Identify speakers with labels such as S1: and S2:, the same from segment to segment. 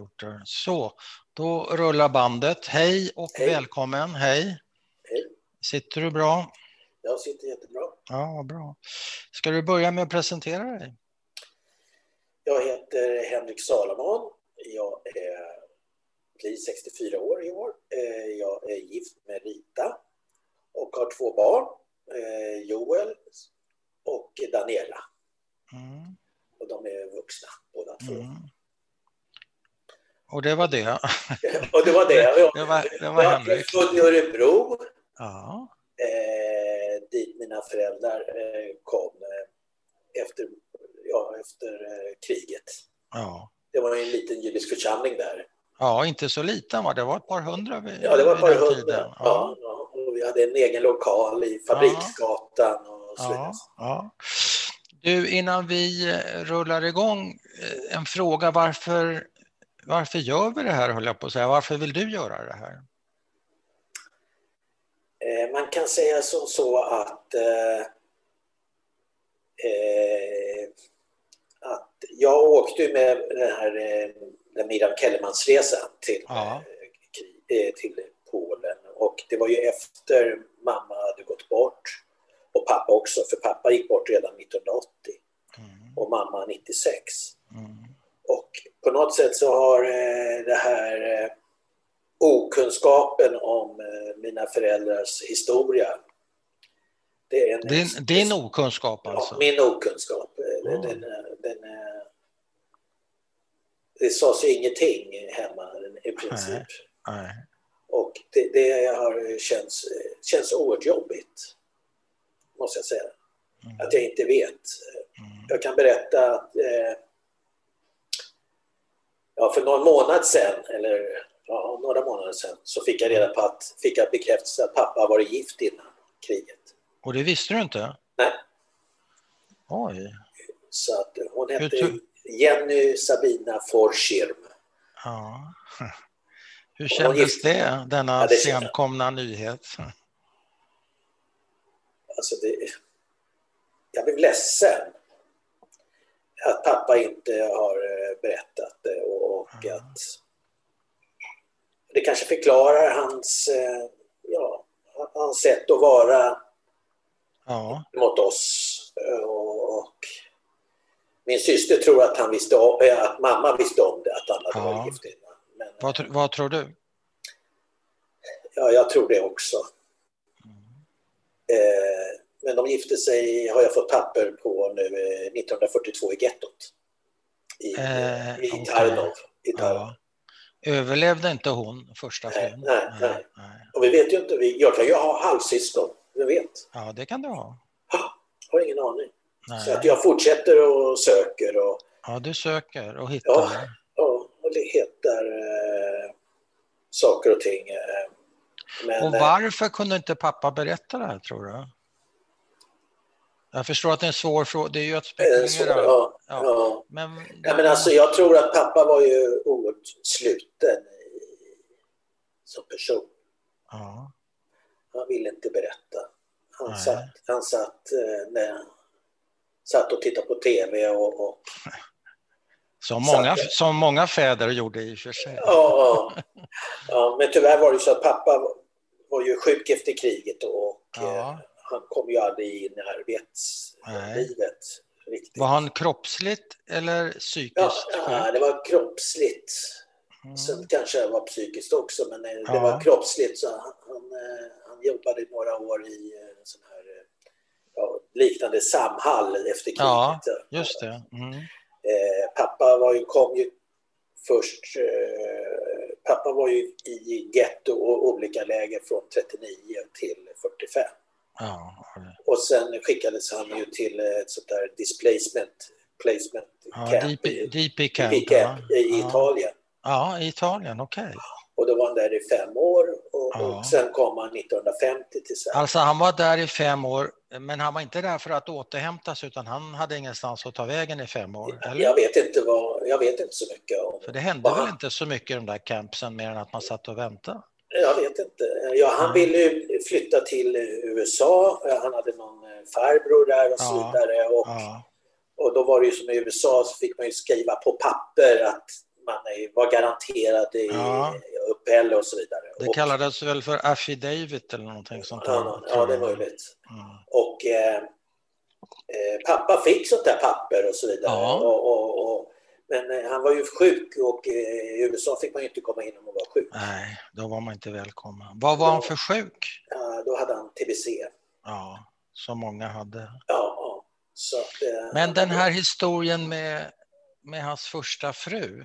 S1: Reporter. Så, då rullar bandet. Hej och
S2: Hej.
S1: välkommen. Hej.
S2: Hej.
S1: Sitter du bra?
S2: Jag sitter jättebra.
S1: Ja, vad bra. Ska du börja med att presentera dig?
S2: Jag heter Henrik Salomon. Jag är, blir 64 år i år. Eh, Jag är gift med Rita och har två barn. eh, Joel och Daniela.
S1: Mm.
S2: Och de är vuxna båda två.
S1: Mm. Och det var det.
S2: Och det var det.
S1: Det var, det var
S2: Jag är
S1: Henrik.
S2: född i Örebro
S1: Ja.
S2: eh, dit mina föräldrar eh, kom eh, efter, ja, efter eh, kriget.
S1: Ja.
S2: Det var ju en liten judisk församling där.
S1: ja, inte så liten va? Det var ett par hundra vid,
S2: Ja, det
S1: vid
S2: var ett par
S1: den
S2: hundra. Ja. ja, och vi hade en egen lokal i Fabriksgatan och så vidare.
S1: Ja, ja. Du, innan vi eh, rullar igång, eh, en fråga. Varför, varför gör vi det här, höll jag på att säga. Varför vill du göra det här?
S2: Eh, Man kan säga som så att eh, eh, att jag åkte ju med den här eh, den Miriam Kellermans-resan till,
S1: Ja.
S2: eh, kri- eh, till Polen och det var ju efter mamma hade gått bort och pappa också, för pappa gick bort redan 1980
S1: Mm,
S2: och mamma 96.
S1: mm,
S2: Och på något sätt så har eh, det här eh, okunskapen om eh, mina föräldrars historia. Det är en,
S1: Din, din okunskap
S2: Ja,
S1: alltså?
S2: Min okunskap. eh,
S1: Ja.
S2: Den, den, eh, den, eh, det sades ju ingenting hemma i princip.
S1: Nej. Nej.
S2: Och det, det har känts, eh, känns oerhört jobbigt. Måste jag säga.
S1: Mm,
S2: Att jag inte vet
S1: mm,
S2: jag kan berätta att eh, ja, för någon månad sedan, eller ja, några månader sedan, så fick jag reda på att, fick jag bekräftelse att pappa var gift innan kriget.
S1: Och det visste du inte?
S2: Nej.
S1: Oj.
S2: Så att hon
S1: Hur
S2: hette
S1: tur-
S2: Jenny Sabina Forschirm.
S1: Ja. Hur
S2: Och
S1: kändes
S2: gift.
S1: det, denna
S2: Ja, det kändes-
S1: senkomna nyhet?
S2: Alltså det, jag blev ledsen att pappa inte har eh, berättat det och, och
S1: Mm.
S2: att det kanske förklarar hans, eh, ja, hans sätt att vara
S1: Ja.
S2: mot oss. eh, Och, och min syster tror att han visste om, eh, att mamma visste om det, att han hade
S1: Ja.
S2: varit gift innan. Men
S1: Vad, tr- vad tror du?
S2: ja, jag tror det också. Eh, Men de gifte sig, har jag fått papper på nu, eh, 1942 i gettot. I,
S1: Eh,
S2: i
S1: okej.
S2: Tarnov. I Tarnov.
S1: Ja. Överlevde inte hon första
S2: Nej,
S1: frun?
S2: nej, nej.
S1: nej.
S2: Och vi vet ju inte, vi- jag kan ju ha halvsyskon, vem vet?
S1: Ja, det kan du ha.
S2: Har ingen aning. Så
S1: Nej.
S2: att jag fortsätter och söker och
S1: Ja, du söker och hittar.
S2: Ja. Ja, och det heter eh, saker och ting. Eh, men,
S1: Och varför kunde inte pappa berätta det här, tror du? Jag förstår att det är en svår fråga. Det är ju att
S2: eh, så,
S1: spekulera.
S2: ja,
S1: Ja.
S2: ja.
S1: Men,
S2: Ja, men alltså, jag tror att pappa var ju oerhört sluten i, som person.
S1: ja,
S2: Han ville inte berätta. Han
S1: Nej.
S2: satt, han satt, eh, när, satt och tittade på TV och, och
S1: som, många,
S2: Säkert.
S1: som många fäder gjorde i och för sig.
S2: Ja, ja. ja, men tyvärr var det så att pappa var ju sjuk efter kriget och
S1: Ja.
S2: eh, han kom ju aldrig in i arbetslivet riktigt.
S1: Var han kroppsligt eller
S2: ja,
S1: psykiskt
S2: ja,
S1: sjuk?
S2: det var kroppsligt.
S1: Mm.
S2: Sen kanske det var psykiskt också, men eh, det
S1: Ja.
S2: var kroppsligt. Så han, han, eh, han jobbade några år i eh, en sån här eh, ja, liknande Samhall efter kriget.
S1: Ja, Just det. Mm.
S2: Eh, pappa var ju, kom ju först... Eh, pappa var ju i getto och olika läger från 39 till 45.
S1: Ja,
S2: Och sen skickades han ju till eh, ett sånt där displacement placement
S1: ja,
S2: camp
S1: DP,
S2: i,
S1: DP camp.
S2: DP
S1: ja.
S2: camp i Italien.
S1: Ja, i Italien, okej.
S2: Och då var han där i fem år och,
S1: Ja.
S2: och sen kom han 1950 till Sverige.
S1: Alltså han var där i fem år, men han var inte där för att återhämta sig utan han hade ingenstans att ta vägen i fem år. Eller?
S2: Jag vet inte, vad, jag vet inte så mycket om
S1: För det hände
S2: Aha.
S1: väl inte så mycket i de där campsen mer än att man satt och väntade?
S2: Jag vet inte. Ja, han ville ju flytta till USA. Han hade någon eh, farbror där och så
S1: Ja.
S2: vidare. Och,
S1: Ja,
S2: och då var det ju som i USA så fick man ju skriva på papper att man är- var garanterad i
S1: Ja.
S2: uppehälle och så vidare.
S1: Det
S2: Och-
S1: kallades väl för affidavit eller någonting sånt där.
S2: ja, ja, det är möjligt.
S1: Mm.
S2: Och eh, eh, pappa fick sånt där papper och så vidare.
S1: Ja.
S2: Och, och, och, men eh, han var ju sjuk och eh, i USA fick man ju inte komma in om man var sjuk.
S1: Nej, då var man inte välkommen. Vad var han för sjuk?
S2: Ja, då hade han TBC.
S1: Ja, som många hade.
S2: Ja, ja. Så att, eh,
S1: Men den här historien med, med hans första fru.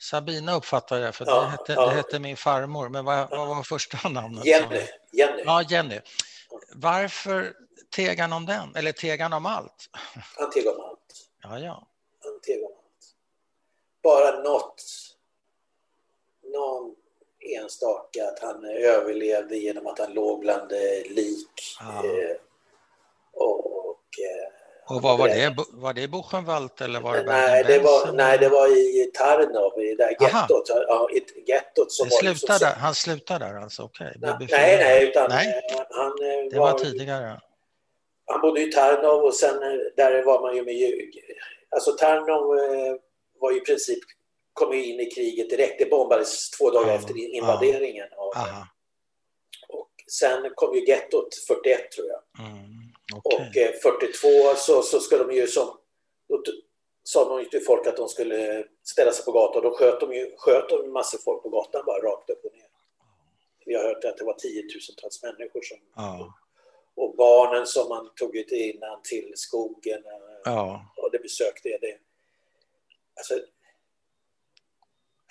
S1: Sabina uppfattade jag, för
S2: Ja,
S1: det, hette,
S2: ja.
S1: det hette min farmor. Men vad, vad var första namnet?
S2: Jenny, Jenny.
S1: Ja, Jenny. Varför teg han om den? Eller teg han om allt?
S2: han teg om allt.
S1: Ja, ja.
S2: Han teg om allt. Bara något, någon enstaka att han överlevde genom att han låg bland eh, lik.
S1: Ja.
S2: Eh, och, och, eh,
S1: Och vad var det? Bo- Var det Buchenwald eller var det
S2: nej, det var,
S1: Bergen-Belsen?
S2: nej, det var i Tarnov, i det där
S1: Aha.
S2: gettot. Ja, i gettot som
S1: Det
S2: var liksom-
S1: slutar där. Han slutar där alltså? Okej.
S2: Nej,
S1: BB4.
S2: nej, nej, utan
S1: Nej,
S2: eh, han, eh,
S1: det var tidigare.
S2: han bodde i Tarnov och sen eh, där var man ju med ljug. Alltså Tarnov eh, var ju i princip, kom ju in i kriget direkt. Det bombades två dagar
S1: Ja,
S2: efter in-
S1: ja.
S2: invaderingen. Och,
S1: Aha.
S2: och sen kom ju gettot 41 tror jag.
S1: Mm.
S2: Och
S1: Okej.
S2: eh, 42 så, så skulle de ju som... Då t- sa de ju till folk att de skulle ställa sig på gatan. Då sköt de ju sköt de massor folk på gatan bara rakt upp och ner. Vi har hört att det var tiotusentals människor som...
S1: Ja.
S2: Och barnen som man tog ut innan till skogen eh,
S1: ja.
S2: och det besökte jag. Det. Alltså,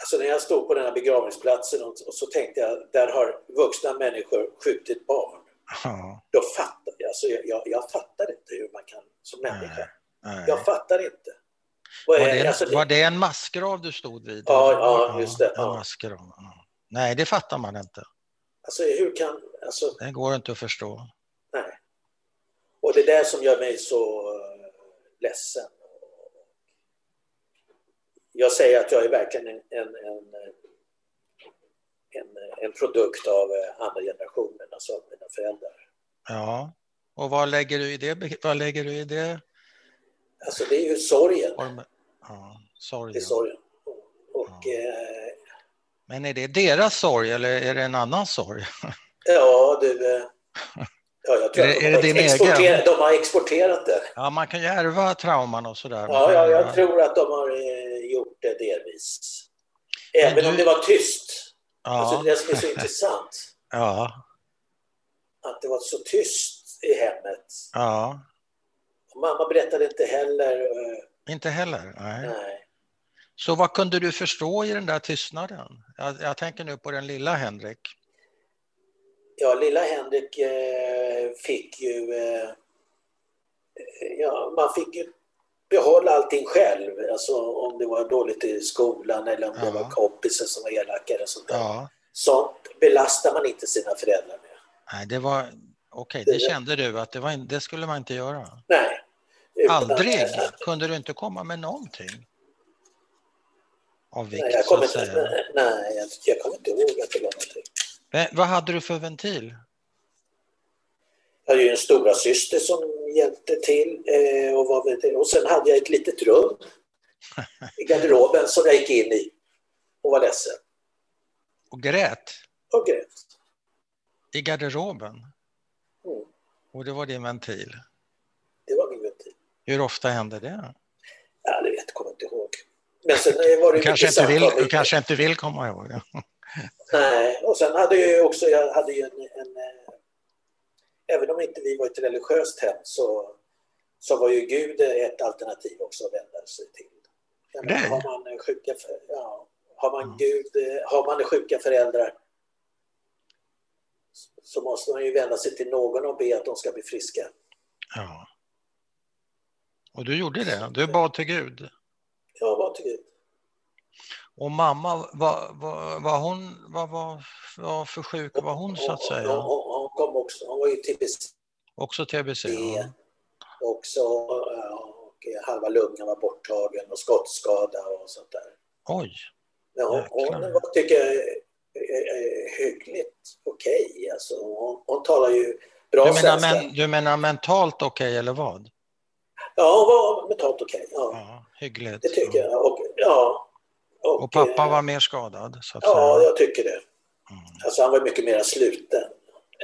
S2: alltså när jag stod på den här begravningsplatsen och, och så tänkte jag, där har vuxna människor skjutit barn.
S1: ja.
S2: Då fattade jag, alltså jag, jag, jag fattar inte hur man kan som människa.
S1: Nej.
S2: Jag fattar inte.
S1: Var
S2: Vad är-
S1: det,
S2: alltså,
S1: en, var det en massgrav du stod vid?
S2: Ja, ja, just det,
S1: En
S2: ja.
S1: massgrav. Ja. Nej, det fattar man inte.
S2: alltså hur kan, alltså
S1: Det går inte att förstå.
S2: nej. Och det är det som gör mig så eh, ledsen. Jag säger att jag är verkligen en, en, en, eh, en, en produkt av eh, andra generationen, alltså av mina föräldrar.
S1: Ja. Och vad lägger du i det? be- Vad lägger du i det?
S2: Alltså det är ju sorgen.
S1: Orm- Ja,
S2: Det är
S1: sorgen.
S2: sorgen. Och
S1: Ja.
S2: eh,
S1: Men är det deras sorg eller är det en annan sorg?
S2: ja, du... eh, Ja, jag tror
S1: Är det-
S2: att
S1: är det din
S2: de, har
S1: egen?
S2: exporterat, de har exporterat det.
S1: Ja, man kan ju ärva trauman och sådär. Man
S2: Ja,
S1: kan
S2: ja,
S1: ärva-
S2: jag tror att de har eh, gjort det delvis.
S1: Men
S2: Även
S1: du-
S2: om det var tyst. Alltså
S1: Ja,
S2: det som är så intressant,
S1: ja,
S2: att det var så tyst i hemmet.
S1: ja.
S2: Och mamma berättade inte heller. eh,
S1: Inte heller. Nej.
S2: Nej.
S1: Så vad kunde du förstå i den där tystnaden? Jag, jag tänker nu på den lilla Henrik.
S2: Ja, lilla Henrik eh, fick ju... eh, Ja, man fick ju behålla allting själv. Alltså om det var dåligt i skolan eller om det
S1: Ja.
S2: var kompisar som var elaka eller sånt där.
S1: Ja,
S2: Sånt belastar man inte sina föräldrar med.
S1: nej, det var okej, det kände du att det, var, in- det skulle man inte göra.
S2: Nej. Utan-
S1: Aldrig kunde du inte komma med någonting. Av
S2: Nej,
S1: vikt
S2: jag
S1: så
S2: kommer
S1: att
S2: inte,
S1: säga.
S2: nej, nej, jag, jag kommer inte ihåg att det var någonting.
S1: Men, vad hade du för ventil?
S2: Jag hade ju en stora syster som hjälpte till eh, och var väl- och sen hade jag ett litet rum i garderoben som jag gick in i och var ledsen
S1: Och grät
S2: och grät.
S1: i garderoben.
S2: Mm,
S1: Och det var din ventil.
S2: det var min ventil.
S1: Hur ofta hände det?
S2: Ja, det vet jag, kommer inte ihåg. Men sen eh, var
S1: Du
S2: det ju
S1: kanske inte
S2: mycket
S1: vill,
S2: samtal.
S1: du kanske inte vill komma ihåg det.
S2: Nej, och sen hade jag ju också, jag hade ju en, en eh, även om inte vi var ett religiöst hem så, så var ju Gud ett alternativ också att vända sig till. Jag menar,
S1: Nej. Mm.
S2: Har man sjuka, för- ja, har man
S1: Ja.
S2: Gud, eh, har man sjuka föräldrar så- så måste man ju vända sig till någon och be att de ska bli friska.
S1: Ja. Och du gjorde det. Du bad till Gud.
S2: Ja, vad tycker du?
S1: Och mamma, var, var, var hon var, var, var för sjuk var hon så att
S2: Hon,
S1: säga?
S2: hon, hon kom också, hon var ju TBC
S1: Också TBC? Ja.
S2: och, så, ja, och halva lungan var borttagen och skottskada och sånt där.
S1: Oj.
S2: Men hon,
S1: Jäklar.
S2: hon var, tycker jag är- är hyggligt okej. Alltså, hon, hon talar ju bra
S1: Du menar,
S2: svenska.
S1: men, du menar mentalt okej eller vad?
S2: Ja, hon var mentalt okej. Ja,
S1: Ja, hyggligt.
S2: det tycker jag. Och, ja,
S1: Och, pappa var mer skadad. Så att
S2: Ja,
S1: säga.
S2: jag tycker det. Alltså han var mycket mer sluten.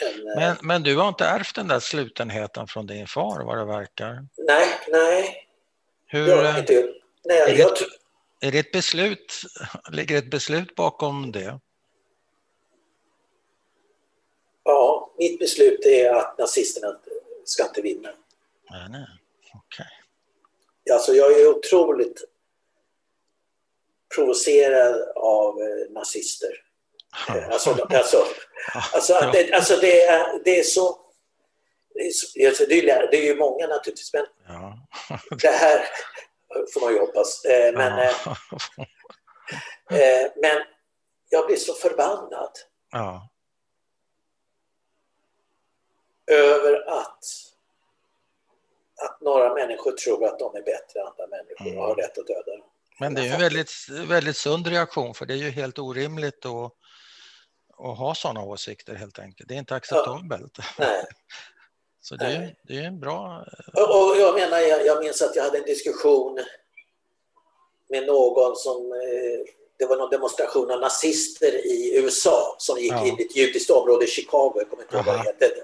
S2: Än, eh,
S1: Men, men du har inte ärvt den där slutenheten från din far vad det verkar.
S2: Nej, nej.
S1: Hur,
S2: Jag har inte, nej
S1: det-
S2: jag, tr-
S1: Är det ett beslut, ligger ett beslut bakom det?
S2: ja, mitt beslut är att nazisterna inte- ska inte vinna.
S1: Nej, nej. Okej.
S2: Alltså jag är otroligt provocerad av eh, nazister. Eh, Alltså, alltså, alltså, att det, alltså det, är, det är så... Det är, så alltså det, är, det är ju många naturligtvis, men
S1: Ja.
S2: det här får man ju hoppas. Eh, Men, eh,
S1: ja.
S2: eh, men jag blir så förbannad
S1: ja.
S2: över att, att några människor tror att de är bättre än andra människor och har rätt att döda dem.
S1: Men det är ju en väldigt, väldigt sund reaktion för det är ju helt orimligt att, att ha sådana åsikter helt enkelt. Det är inte acceptabelt.
S2: Nej.
S1: Så det är, ju- det är ju en bra...
S2: Och, och jag menar, jag, jag minns att jag hade en diskussion med någon som, eh, det var någon demonstration av nazister i USA som gick
S1: Ja.
S2: in i ett judiskt område i Chicago, jag kommer inte ihåg vad
S1: Aha.
S2: det hette.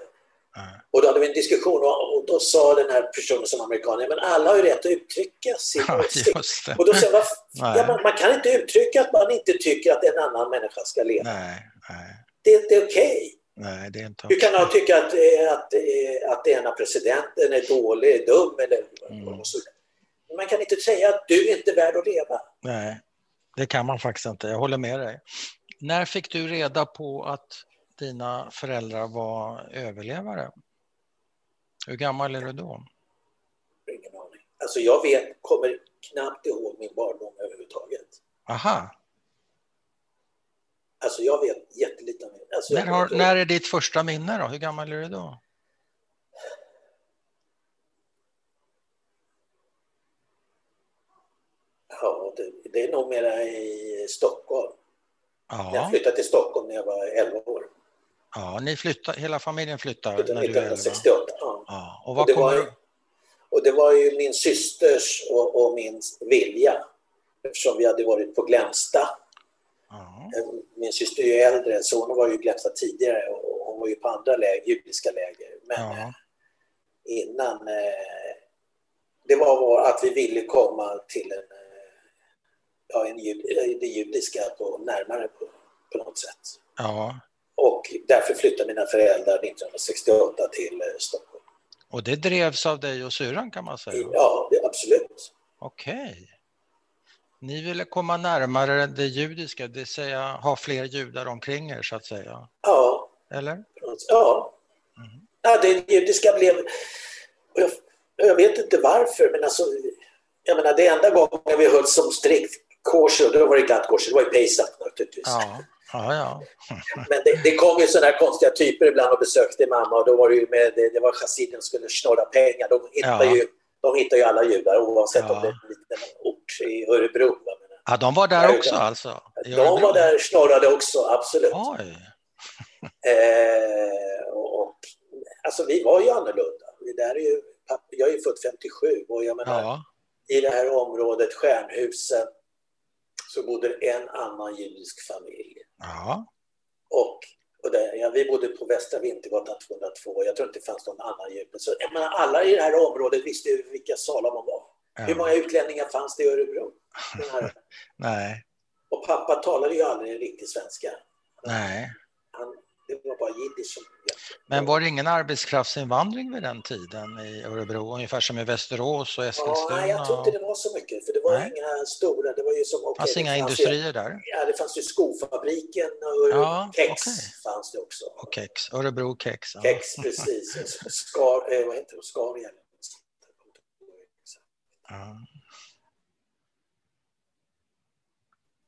S1: Ja.
S2: Och då hade vi en diskussion och, och då sa den här personen som amerikan, "Ja, men alla har ju rätt att uttrycka sin
S1: Ja,
S2: åsikt.
S1: just det.
S2: Och då säger jag,
S1: Nej.
S2: "Vad- ja, man, man kan inte uttrycka att man inte tycker att en annan människa ska leva.
S1: Nej, nej,
S2: Det, det är okej.
S1: nej, det är inte
S2: Du kan ha tycka att, eh, att, eh, att ena presidenten är dålig, är dum eller
S1: Mm.
S2: och så vidare. Men man kan inte säga att du inte är värd att leva.
S1: Nej, det kan man faktiskt inte. Jag håller med dig. När fick du reda på att dina föräldrar var överlevare? Hur gammal är du då?
S2: Ingen aning. Alltså jag vet, kommer knappt ihåg min barndom överhuvudtaget.
S1: Aha,
S2: Alltså jag vet jättelite om det. Alltså jag
S1: när, har,
S2: kommer inte
S1: när
S2: ihåg.
S1: är ditt första minne då? Hur gammal är du då?
S2: Ja, det, det är nog mera i Stockholm. Jag
S1: Ja,
S2: flyttade till Stockholm när jag var 11 år.
S1: ja ni flyttar, hela familjen flyttar
S2: Jag flyttade
S1: när du är 11.
S2: 1968. Ja.
S1: Ja, och
S2: Och
S1: vad
S2: det, var,
S1: kommer
S2: ju-
S1: du...
S2: och det var ju min systers och, och min vilja. Eftersom vi hade varit på Glänsta
S1: Ja,
S2: Min syster är ju äldre, så hon var ju i Glänsta tidigare och hon var ju på andra läger, judiska läger. Men
S1: ja,
S2: innan... eh, Det var vår- att vi ville komma till en, eh, ja, en, jud- eh, det judiska på, närmare på, på något sätt.
S1: ja,
S2: Och därför flyttade mina föräldrar 1968 till eh, Stockholm.
S1: och det drevs av dig och syrran kan man säga.
S2: Ja, det- absolut.
S1: Okej. Ni ville komma närmare det judiska, det vill säga ha fler judar omkring er så att säga.
S2: Ja,
S1: Eller?
S2: Ja.
S1: Mm.
S2: ja det judiska blev... och Jag, jag vet inte varför, men alltså... Jag menar, det enda gången vi höll som strikt kosher, då var det glatt kosher, det var ju pesach naturligtvis.
S1: Ja, ja, ja.
S2: Men det, det kom ju sådana här konstiga typer ibland och besökte mamma och då var det ju med, det, det var chassiden som skulle snorra pengar. De hittar,
S1: Ja.
S2: ju, de hittar ju alla judar oavsett
S1: Ja.
S2: om det är en liten ort i Örebro. va, men-
S1: ja de var där också alltså? I
S2: De
S1: Örebro?
S2: var där snorrade också, absolut.
S1: Oj.
S2: Eh, och, och, alltså vi var ju annorlunda. Det där är ju, papp- jag är ju född 57 och jag menar,
S1: Ja,
S2: i det här området, Stjärnhusen, så bodde en annan judisk familj.
S1: ja,
S2: Och, och där, ja, vi bodde på Västra Vintergatan 202. Jag tror inte det fanns någon annan judisk. Så, jag menar, alla i det här området visste ju vilka Salomon var. Hur
S1: ja.
S2: många utlänningar fanns det i Örebro? Den här,
S1: Nej,
S2: och pappa talade ju aldrig riktig svenska.
S1: nej.
S2: Han, det var bara jiddisch som
S1: Men var det ingen arbetskraftsinvandring vid den tiden i Örebro? Ungefär som i Västerås och
S2: Ja,
S1: Eskilstuna?
S2: nej, jag tror inte
S1: Det
S2: det var så mycket. För det var
S1: Nej.
S2: inga stora, det var ju som... okej,
S1: fanns
S2: det
S1: inga
S2: fanns ju-
S1: industrier där?
S2: Ja, det fanns ju skofabriken och
S1: Ja,
S2: kex
S1: okej.
S2: fanns det också.
S1: Och kex, Örebro kex. Ja.
S2: Kex, precis. Och så Skar, eh, vad heter det? Skaria. eller något sånt där.
S1: Ja.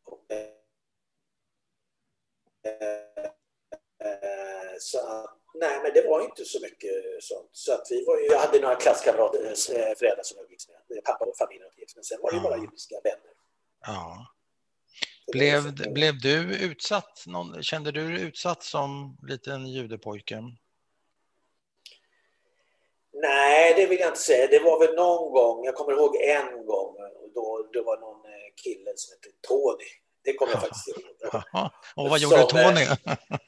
S2: Och, eh, eh, Så att, nej, men det var ju inte så mycket sånt. Så att vi var ju, jag hade några klasskamrater, eh, föräldrar som jag gick med, pappa och familjen och gift, men sen var det ju
S1: Ja.
S2: bara judiska vänner.
S1: ja.
S2: Så det var
S1: Blev,
S2: ju så-
S1: blev du utsatt? Någon, kände du dig utsatt som liten judepojke?
S2: Nej, det vill jag inte säga. Det var väl någon gång, jag kommer ihåg en gång, och då, det var någon eh, kille som hette Tony Det kommer jag faktiskt ihåg.
S1: Jaha. Och vad gjorde
S2: Som, eh,
S1: Tony?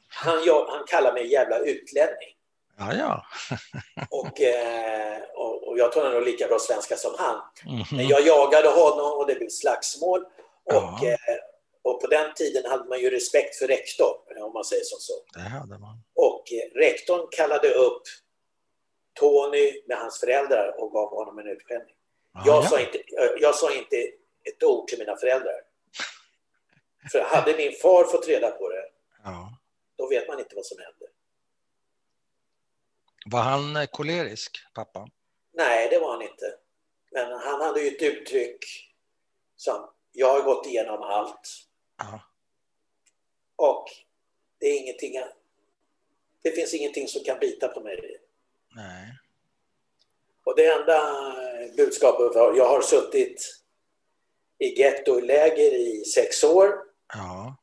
S2: Han, jobb- han kallar mig jävla utlänning.
S1: Ja, ja.
S2: Och, eh, och, och jag talar nog lika bra svenska som han. Men
S1: Mhm.
S2: jag jagade honom och det blev slagsmål. Och,
S1: Ja.
S2: eh, och på den tiden hade man ju respekt för rektorn, om man säger som så.
S1: Det hade man.
S2: Och eh, rektorn kallade upp Tony med hans föräldrar och gav honom en utskällning.
S1: Ja,
S2: Jag,
S1: ja.
S2: sa inte, eh, jag sa inte ett ord till mina föräldrar. För hade min far fått reda på det,
S1: Ja.
S2: då vet man inte vad som händer.
S1: Var han eh, kolerisk, pappa?
S2: Nej, det var han inte. Men han hade ju ett uttryck som jag har gått igenom allt
S1: Ja.
S2: och det är ingenting. Det finns ingenting som kan bita på mig.
S1: Nej.
S2: Och det enda budskapet var, jag har suttit i gettoläger i sex år
S1: Ja.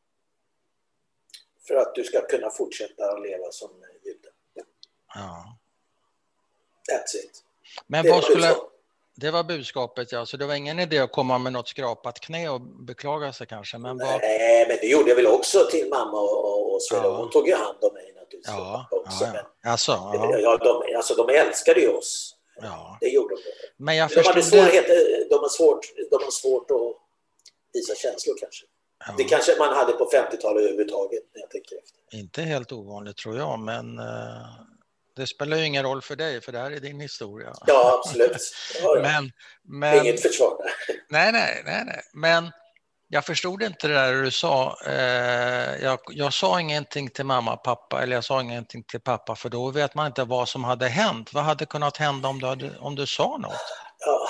S2: för att du ska kunna fortsätta att leva som jude.
S1: ja.
S2: That's it.
S1: Men
S2: Det var
S1: vad skulle...
S2: budskapet.
S1: Det var budskapet, ja. Så det var ingen idé att komma med något skrapat knä och beklaga sig kanske. Men vad...
S2: Nej, men det gjorde jag väl också till mamma och, och, och Svea.
S1: Ja.
S2: Hon tog ju hand om mig naturligtvis.
S1: Ja, ja,
S2: också, men-
S1: ja. Alltså,
S2: Ja.
S1: ja,
S2: de, alltså de älskade ju oss.
S1: ja.
S2: Det gjorde de.
S1: Men jag
S2: De, hade
S1: förstod det.
S2: svårigheter, de, har svårt, de har svårt att visa känslor kanske. Det
S1: Ja,
S2: kanske man hade på 50-talet överhuvudtaget när jag tänker efter.
S1: inte helt ovanligt tror jag, men eh, det spelar ju ingen roll för dig, för det här är din historia.
S2: Ja, absolut. Ja, ja.
S1: Men, men,
S2: Inget försvar där.
S1: nej, nej, nej, nej. Men jag förstod inte det där du sa. Eh, jag, jag sa ingenting till mamma och pappa, eller jag sa ingenting till pappa, för då vet man inte vad som hade hänt. Vad hade kunnat hända om du, hade, om du sa något?
S2: Ja.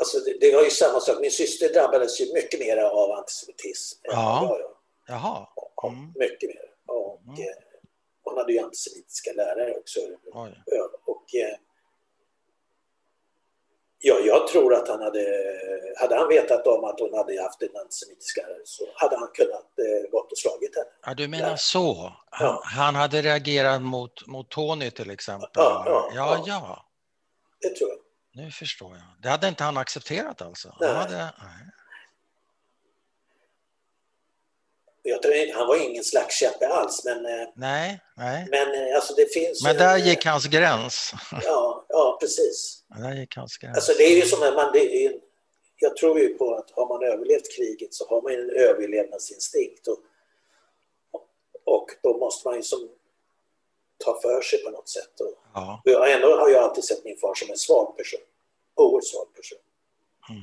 S2: Alltså, det, det var ju samma sak. Min syster drabbades ju mycket mer av antisemitism. än
S1: Ja.
S2: vad jag gjorde.
S1: Jaha.
S2: Ja,
S1: Mm.
S2: Mycket mer. Och,
S1: Mm.
S2: eh, hon hade ju antisemitiska lärare också.
S1: Oj.
S2: Ja, och, eh, ja, jag tror att han hade, hade han vetat om att hon hade haft en antisemitisk lärare så hade han kunnat eh, gått och slagit henne.
S1: Ja, du
S2: Ja.
S1: menar så. Han,
S2: Ja.
S1: han hade reagerat mot, mot Tony till exempel.
S2: Ja,
S1: ja,
S2: ja,
S1: ja,
S2: ja.
S1: ja,
S2: Det tror jag.
S1: nu förstår jag. Det hade inte han accepterat alltså? Han
S2: Nej.
S1: hade, nej.
S2: jag tror, inte- han var ingen slagskämpe alls men, eh,
S1: nej, nej.
S2: men eh, alltså det finns
S1: Men
S2: ju-
S1: där gick hans gräns.
S2: Ja, ja precis.
S1: Där gick hans gräns.
S2: Alltså det är ju som en, man, det är en, jag tror ju på att har man överlevt kriget så har man ju en överlevnadsinstinkt och, och då måste man ju som ta för sig på något sätt. Och,
S1: Ja.
S2: Och jag- Ändå har jag alltid sett min far som en svag person. Oerhört svag person.
S1: Mm.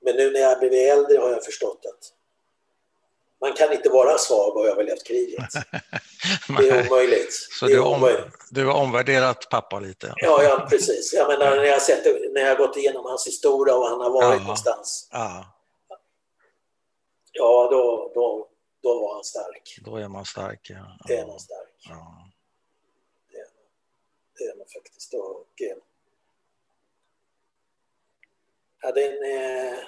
S2: Men nu när jag blivit äldre har jag förstått att man kan inte vara svag och överlevt kriget. Det är
S1: Nej.
S2: omöjligt.
S1: Så
S2: det
S1: du
S2: är
S1: har,
S2: omöjligt.
S1: om, du har omvärderat pappa lite?
S2: Ja, ja, precis. Jag menar, när jag, har sett, när jag har gått igenom hans historia och han har varit
S1: Ja.
S2: någonstans,
S1: Ja,
S2: ja, då, då, då var han stark.
S1: då är man stark. Ja.
S2: Det är man stark.
S1: Ja.
S2: Det är man faktiskt. Och, eh, ja, det är en, eh,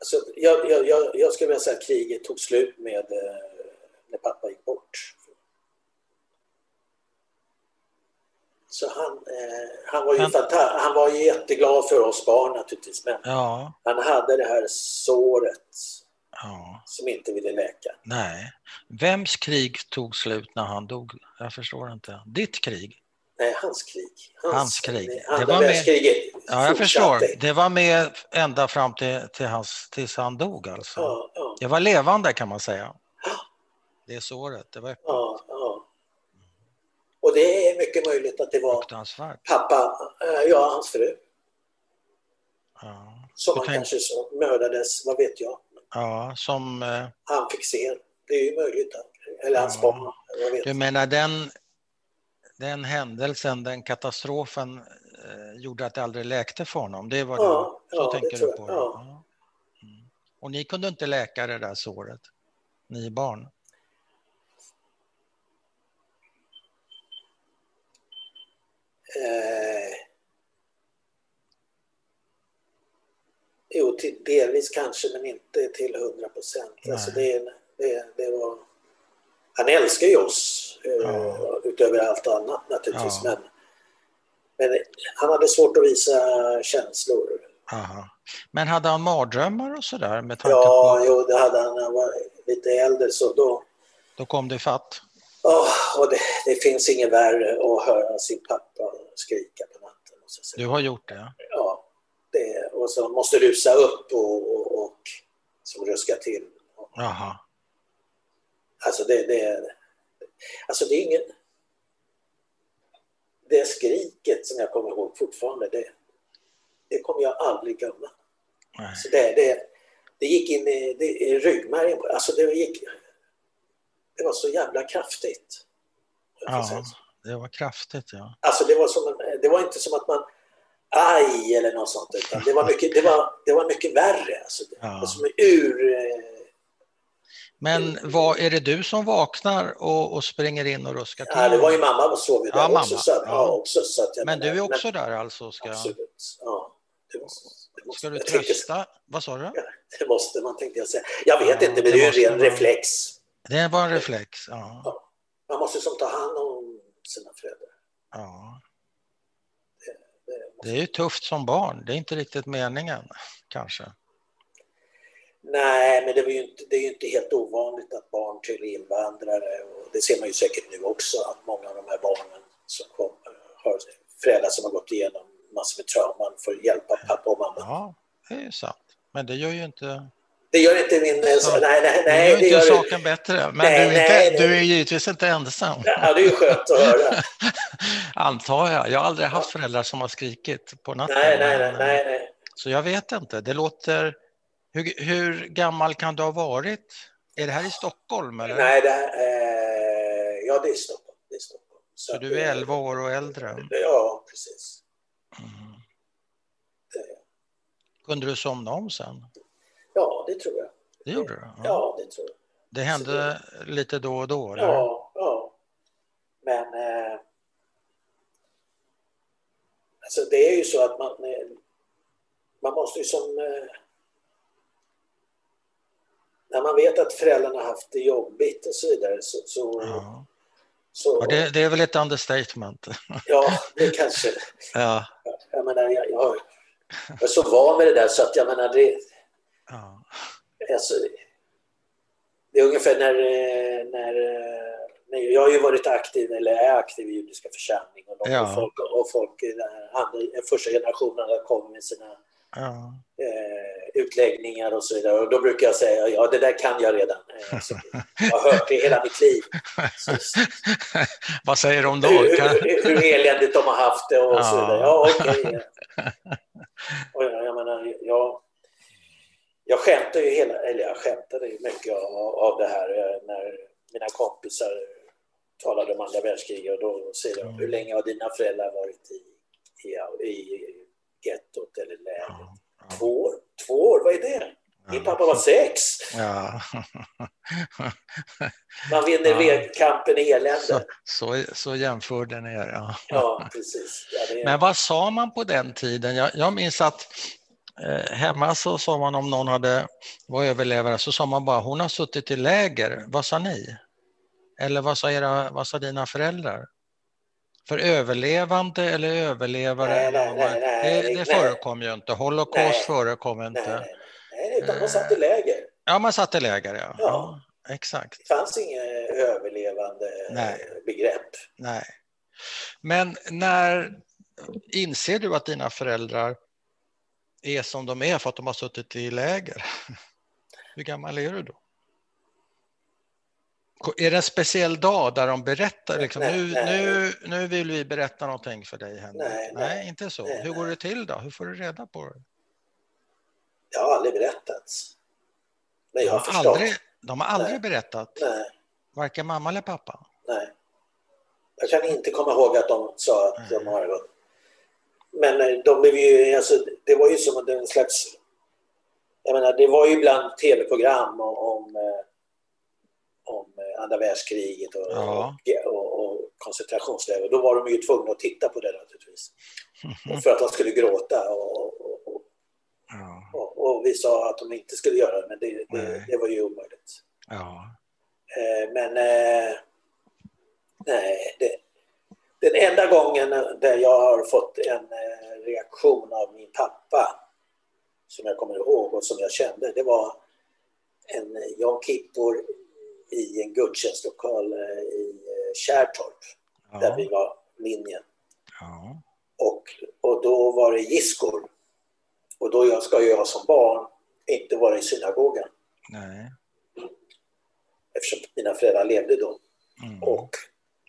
S2: alltså, jag, jag, jag, jag skulle vilja säga att kriget tog slut med eh, när pappa gick bort. Så han, eh, han, var ju
S1: Men-
S2: fanta- han var ju jätteglad för oss barn naturligtvis, men
S1: ja,
S2: han hade det här såret
S1: ja.
S2: som inte ville läka.
S1: Nej. Vems krig tog slut när han dog? Jag förstår inte. Ditt krig?
S2: Nej, hans krig.
S1: Hans krig.
S2: Andra
S1: Det var med-
S2: världskriget
S1: Ja, jag
S2: fortsatte.
S1: förstår. Det var med ända fram till, till hans, tills han dog alltså.
S2: Ja, ja,
S1: Det var levande kan man säga. Det såret, det var
S2: ja, ja. Och det är mycket möjligt att det var
S1: fruktansvärt.
S2: pappa, eh, ja, hans fru,
S1: Ja,
S2: som
S1: Du
S2: han
S1: tänk-
S2: kanske så, mördades, vad vet jag.
S1: ja som... eh,
S2: Han fick se. Det är ju möjligt. att- Eller hans
S1: Ja.
S2: barn, vad vet
S1: Du
S2: jag.
S1: menar den, den händelsen, den katastrofen eh, gjorde att det aldrig läkte för honom? Det var
S2: Ja,
S1: du, så
S2: ja, det
S1: tänker du
S2: tror jag.
S1: på
S2: Ja.
S1: Ja. Mm. Och ni kunde inte läka det där såret, ni barn?
S2: Eh, jo, till, delvis kanske, men inte till 100 procent. Alltså
S1: Nej.
S2: det, är- det, det var... Han älskar ju oss eh,
S1: Ja.
S2: utöver allt annat naturligtvis.
S1: Ja.
S2: Men Men han hade svårt att visa känslor.
S1: Aha. Men hade han mardrömmar och sådär? Med tanke
S2: Ja,
S1: på,
S2: jo, det hade han. Han var lite äldre så då...
S1: då kom du fatt.
S2: Åh, och det, det finns inget värre att höra sin pappa skrika på natten. Och så, säga.
S1: Du har gjort det?
S2: ja, det, och så måste rusa upp och, och, och som ruska till.
S1: Jaha.
S2: Alltså det, det, alltså det är ingen... Det skriket som jag kommer ihåg fortfarande, det, det kommer jag aldrig glömma.
S1: Nej.
S2: Så det, det, det gick in i, det, i ryggmärgen. på- Alltså det gick... Det var så jävla kraftigt.
S1: Ja, det var kraftigt ja.
S2: Alltså det var, som, en- det var inte som att man aj eller något sånt utan det var mycket, det var, det var mycket värre. Alltså det
S1: Ja.
S2: var som en ur... eh,
S1: Men vad, är det du som vaknar och, och springer in och ruskar till?
S2: Ja, det var ju mamma som sov ju där
S1: Ja, mamma.
S2: också. Så att, ja.
S1: Ja.
S2: också, så att jag
S1: Men du
S2: menar,
S1: är också där alltså? Ska,
S2: Absolut. Ja. Det måste, det måste,
S1: ska du
S2: jag tänkte,
S1: trösta? Vad sa du?
S2: det måste man tänkte jag säga. Jag vet
S1: Ja,
S2: inte,
S1: det
S2: men det är
S1: måste
S2: ju en ren
S1: man.
S2: reflex.
S1: Det var en reflex. Ja.
S2: Man måste som ta hand om sina föräldrar.
S1: ja.
S2: Det måste-
S1: Det är ju tufft som barn. Det är inte riktigt meningen kanske.
S2: Nej, men det, var ju inte, det är ju inte helt ovanligt att barn till invandrare, och det ser man ju säkert nu också, att många av de här barnen som kommer har föräldrar som har gått igenom massor med trauman för att hjälpa pappa och mamma.
S1: Ja, det är ju sant. Men det gör ju inte,
S2: Det gör inte min... eh,
S1: Så-
S2: nej, nej,
S1: det gör
S2: nej.
S1: ju
S2: Det
S1: inte
S2: gör,
S1: saken bättre. Men
S2: Nej,
S1: du, är
S2: nej,
S1: inte,
S2: nej.
S1: du är givetvis inte ensam.
S2: ja, det är ju skönt att höra.
S1: Antar jag. Jag har aldrig haft föräldrar som har skrikit på natten.
S2: Nej, nej, nej.
S1: men-
S2: nej, nej.
S1: Så jag vet inte. Det låter... Hur, hur gammal kan du ha varit? Är det här i Stockholm? Eller?
S2: nej det, här, eh, ja, det är Stockholm. Det är Stockholm.
S1: Så
S2: att
S1: du
S2: det-
S1: är 11 år och äldre? Mm.
S2: Ja, precis.
S1: Kunde du somna om sen?
S2: Ja, det tror jag.
S1: Det gjorde du?
S2: Ja, det tror jag.
S1: Det hände lite då och då? Eller?
S2: Ja, ja. Men... Eh, alltså det är ju så att man... eh, Man måste ju som... Eh, när man vet att föräldrarna har haft det jobbigt och så vidare så... så,
S1: Ja.
S2: så
S1: Och det, det är väl ett understatement?
S2: ja, det kanske...
S1: Ja.
S2: Jag menar, jag, jag, har- jag är så van med det där så att jag menar det...
S1: ja.
S2: Alltså, det är ungefär när, eh, när, eh, när jag har ju varit aktiv eller är aktiv i judiska församling och, de,
S1: Ja.
S2: och, folk, och folk i den här andra, den första generationen har kommit med sina
S1: ja.
S2: eh, utläggningar och så vidare och då brukar jag säga ja det där kan jag redan. Eh, så, jag har hört det hela mitt liv. Så,
S1: Vad säger de då?
S2: hur,
S1: Kan...
S2: hur, hur eländigt de har haft det och
S1: Ja.
S2: så vidare. Ja, okej. Och jag, jag menar, jag, jag skämtar ju hela, eller jag skämtade ju mycket av, av det här eh, när mina kompisar talade om andra världskriget och då säger de,
S1: Mm.
S2: hur länge har dina föräldrar varit i, i, i gettot eller lägret?
S1: Ja.
S2: Två år? Två år, vad är det? Min
S1: Ja.
S2: pappa var sex.
S1: Ja.
S2: Man vinner
S1: Ja.
S2: kampen i
S1: Så,
S2: elände.
S1: så, så jämförde ni er? Ja.
S2: Ja, precis. Ja, det,
S1: Men vad sa man på den tiden? Jag, jag minns att eh, hemma så sa man om någon hade, var överlevare så sa man bara hon har suttit i läger. Vad sa ni? Eller vad sa, era, vad sa dina föräldrar? För överlevande eller överlevare?
S2: Nej,
S1: eller
S2: nej,
S1: vad var-
S2: nej, nej,
S1: det, det
S2: nej.
S1: förekom ju inte. Holocaust
S2: Nej.
S1: förekom
S2: nej,
S1: inte.
S2: nej, nej. nej, utan de satt i läger.
S1: Ja, man satt i läger, ja. ja.
S2: Ja.
S1: exakt.
S2: Det fanns inget överlevande
S1: Nej.
S2: begrepp.
S1: Nej. Men när inser du att dina föräldrar är som de är för att de har suttit i läger? Hur gammal är du då? Ko- Är det en speciell dag där de berättar liksom,
S2: Nej,
S1: nu,
S2: nej.
S1: nu, nu vill vi berätta någonting för dig Henrik?
S2: Nej, nej.
S1: nej inte så.
S2: Nej,
S1: Hur går
S2: nej.
S1: det till då? Hur får du reda på det?
S2: Det har aldrig berättats. Men jag
S1: De
S2: har
S1: har
S2: förstått.
S1: aldrig, de har aldrig
S2: Nej.
S1: berättat,
S2: Nej,
S1: varken mamma eller pappa.
S2: nej. Jag kan inte komma ihåg att de sa att de har... Men eh, de blev ju, alltså, det var ju som en slags... Jag menar, det var ju ibland tv-program om, om, eh, om eh, andra världskriget och,
S1: Ja.
S2: och, och, och koncentrationsläger. Då var de ju tvungna att titta på det naturligtvis. Och för att de skulle gråta och, och, och,
S1: Ja,
S2: Och, och vi sa att de inte skulle göra det, men det,
S1: Nej.
S2: det, det var ju omöjligt.
S1: ja.
S2: Eh, men eh, nej, det, Den enda gången där jag har fått en eh, reaktion av min pappa som jag kommer ihåg och som jag kände, det var en Jan Kippor i en gudstjänstlokal eh, i eh, Kärrtorp,
S1: Ja.
S2: där vi var linjen.
S1: Ja.
S2: Och, och då var det Giskor. Och då jag, ska ju jag som barn inte vara i synagogan
S1: Nej.
S2: eftersom mina föräldrar levde då.
S1: Mm.
S2: Och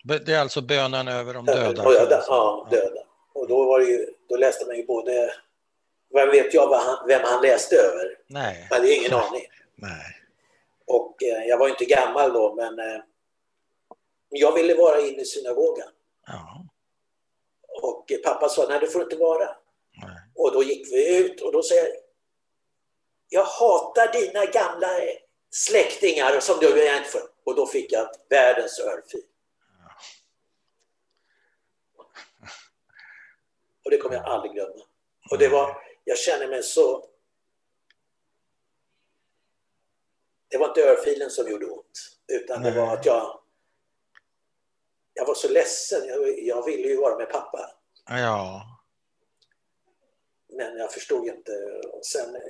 S1: B- Det är alltså bönen över de döda.
S2: Och jag,
S1: kan man säga.
S2: ja, döda. Och då, var det ju, då läste man ju både... Vem vet jag vad han, vem han läste över?
S1: Nej.
S2: Jag hade ju ingen aning.
S1: Nej.
S2: Och eh, jag var inte gammal då, men eh, jag ville vara inne i synagogan.
S1: Ja.
S2: Och eh, pappa sa, nej det får du inte vara.
S1: Nej.
S2: Och då gick vi ut och då säger jag, jag hatar dina gamla släktingar som du är inte för. Och då fick jag världens örfil. Och det kommer jag aldrig glömma. Och det var, jag känner mig så... Det var inte örfilen som gjorde ont, utan det var
S1: Nej.
S2: att jag... Jag var så ledsen, jag, jag ville ju vara med pappa.
S1: Ja.
S2: Men jag förstod inte. Och sen, eh,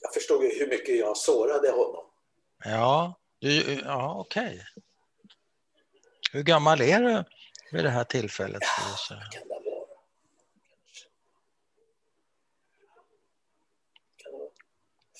S2: jag förstod ju hur mycket jag sårade honom.
S1: Ja. Du, ja, okej. Hur gammal är du vid det här tillfället? skulle jag säga?
S2: Kan det vara? Kan det vara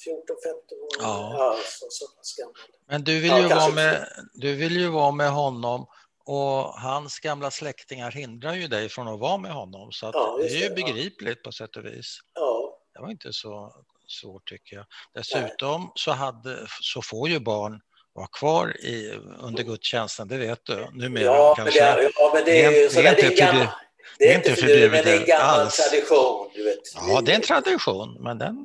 S2: 14, 15 år?
S1: Ja.
S2: så, så pass gammal.
S1: Men du vill,
S2: Ja,
S1: ju vara
S2: kanske.
S1: med, du vill ju vara med honom och hans gamla släktingar hindrar ju dig från att vara med honom. Så att
S2: Ja,
S1: det
S2: just
S1: är ju
S2: det, ja.
S1: begripligt på sätt och vis.
S2: Ja,
S1: Det var inte så svårt tycker jag. Dessutom så, hade, så får ju barn vara kvar i, under gudstjänsten, det vet du numera.
S2: ja, men det,
S1: kanske.
S2: ja, men det
S1: Det är-
S2: är
S1: det är
S2: ju sådär,
S1: inte
S2: det är en gammal-
S1: förbjud- det
S2: det
S1: är
S2: är
S1: inte
S2: inte förbjudet, men det är en
S1: förbjudet
S2: gammal
S1: alls.
S2: tradition. Du vet.
S1: ja, det är en tradition, men den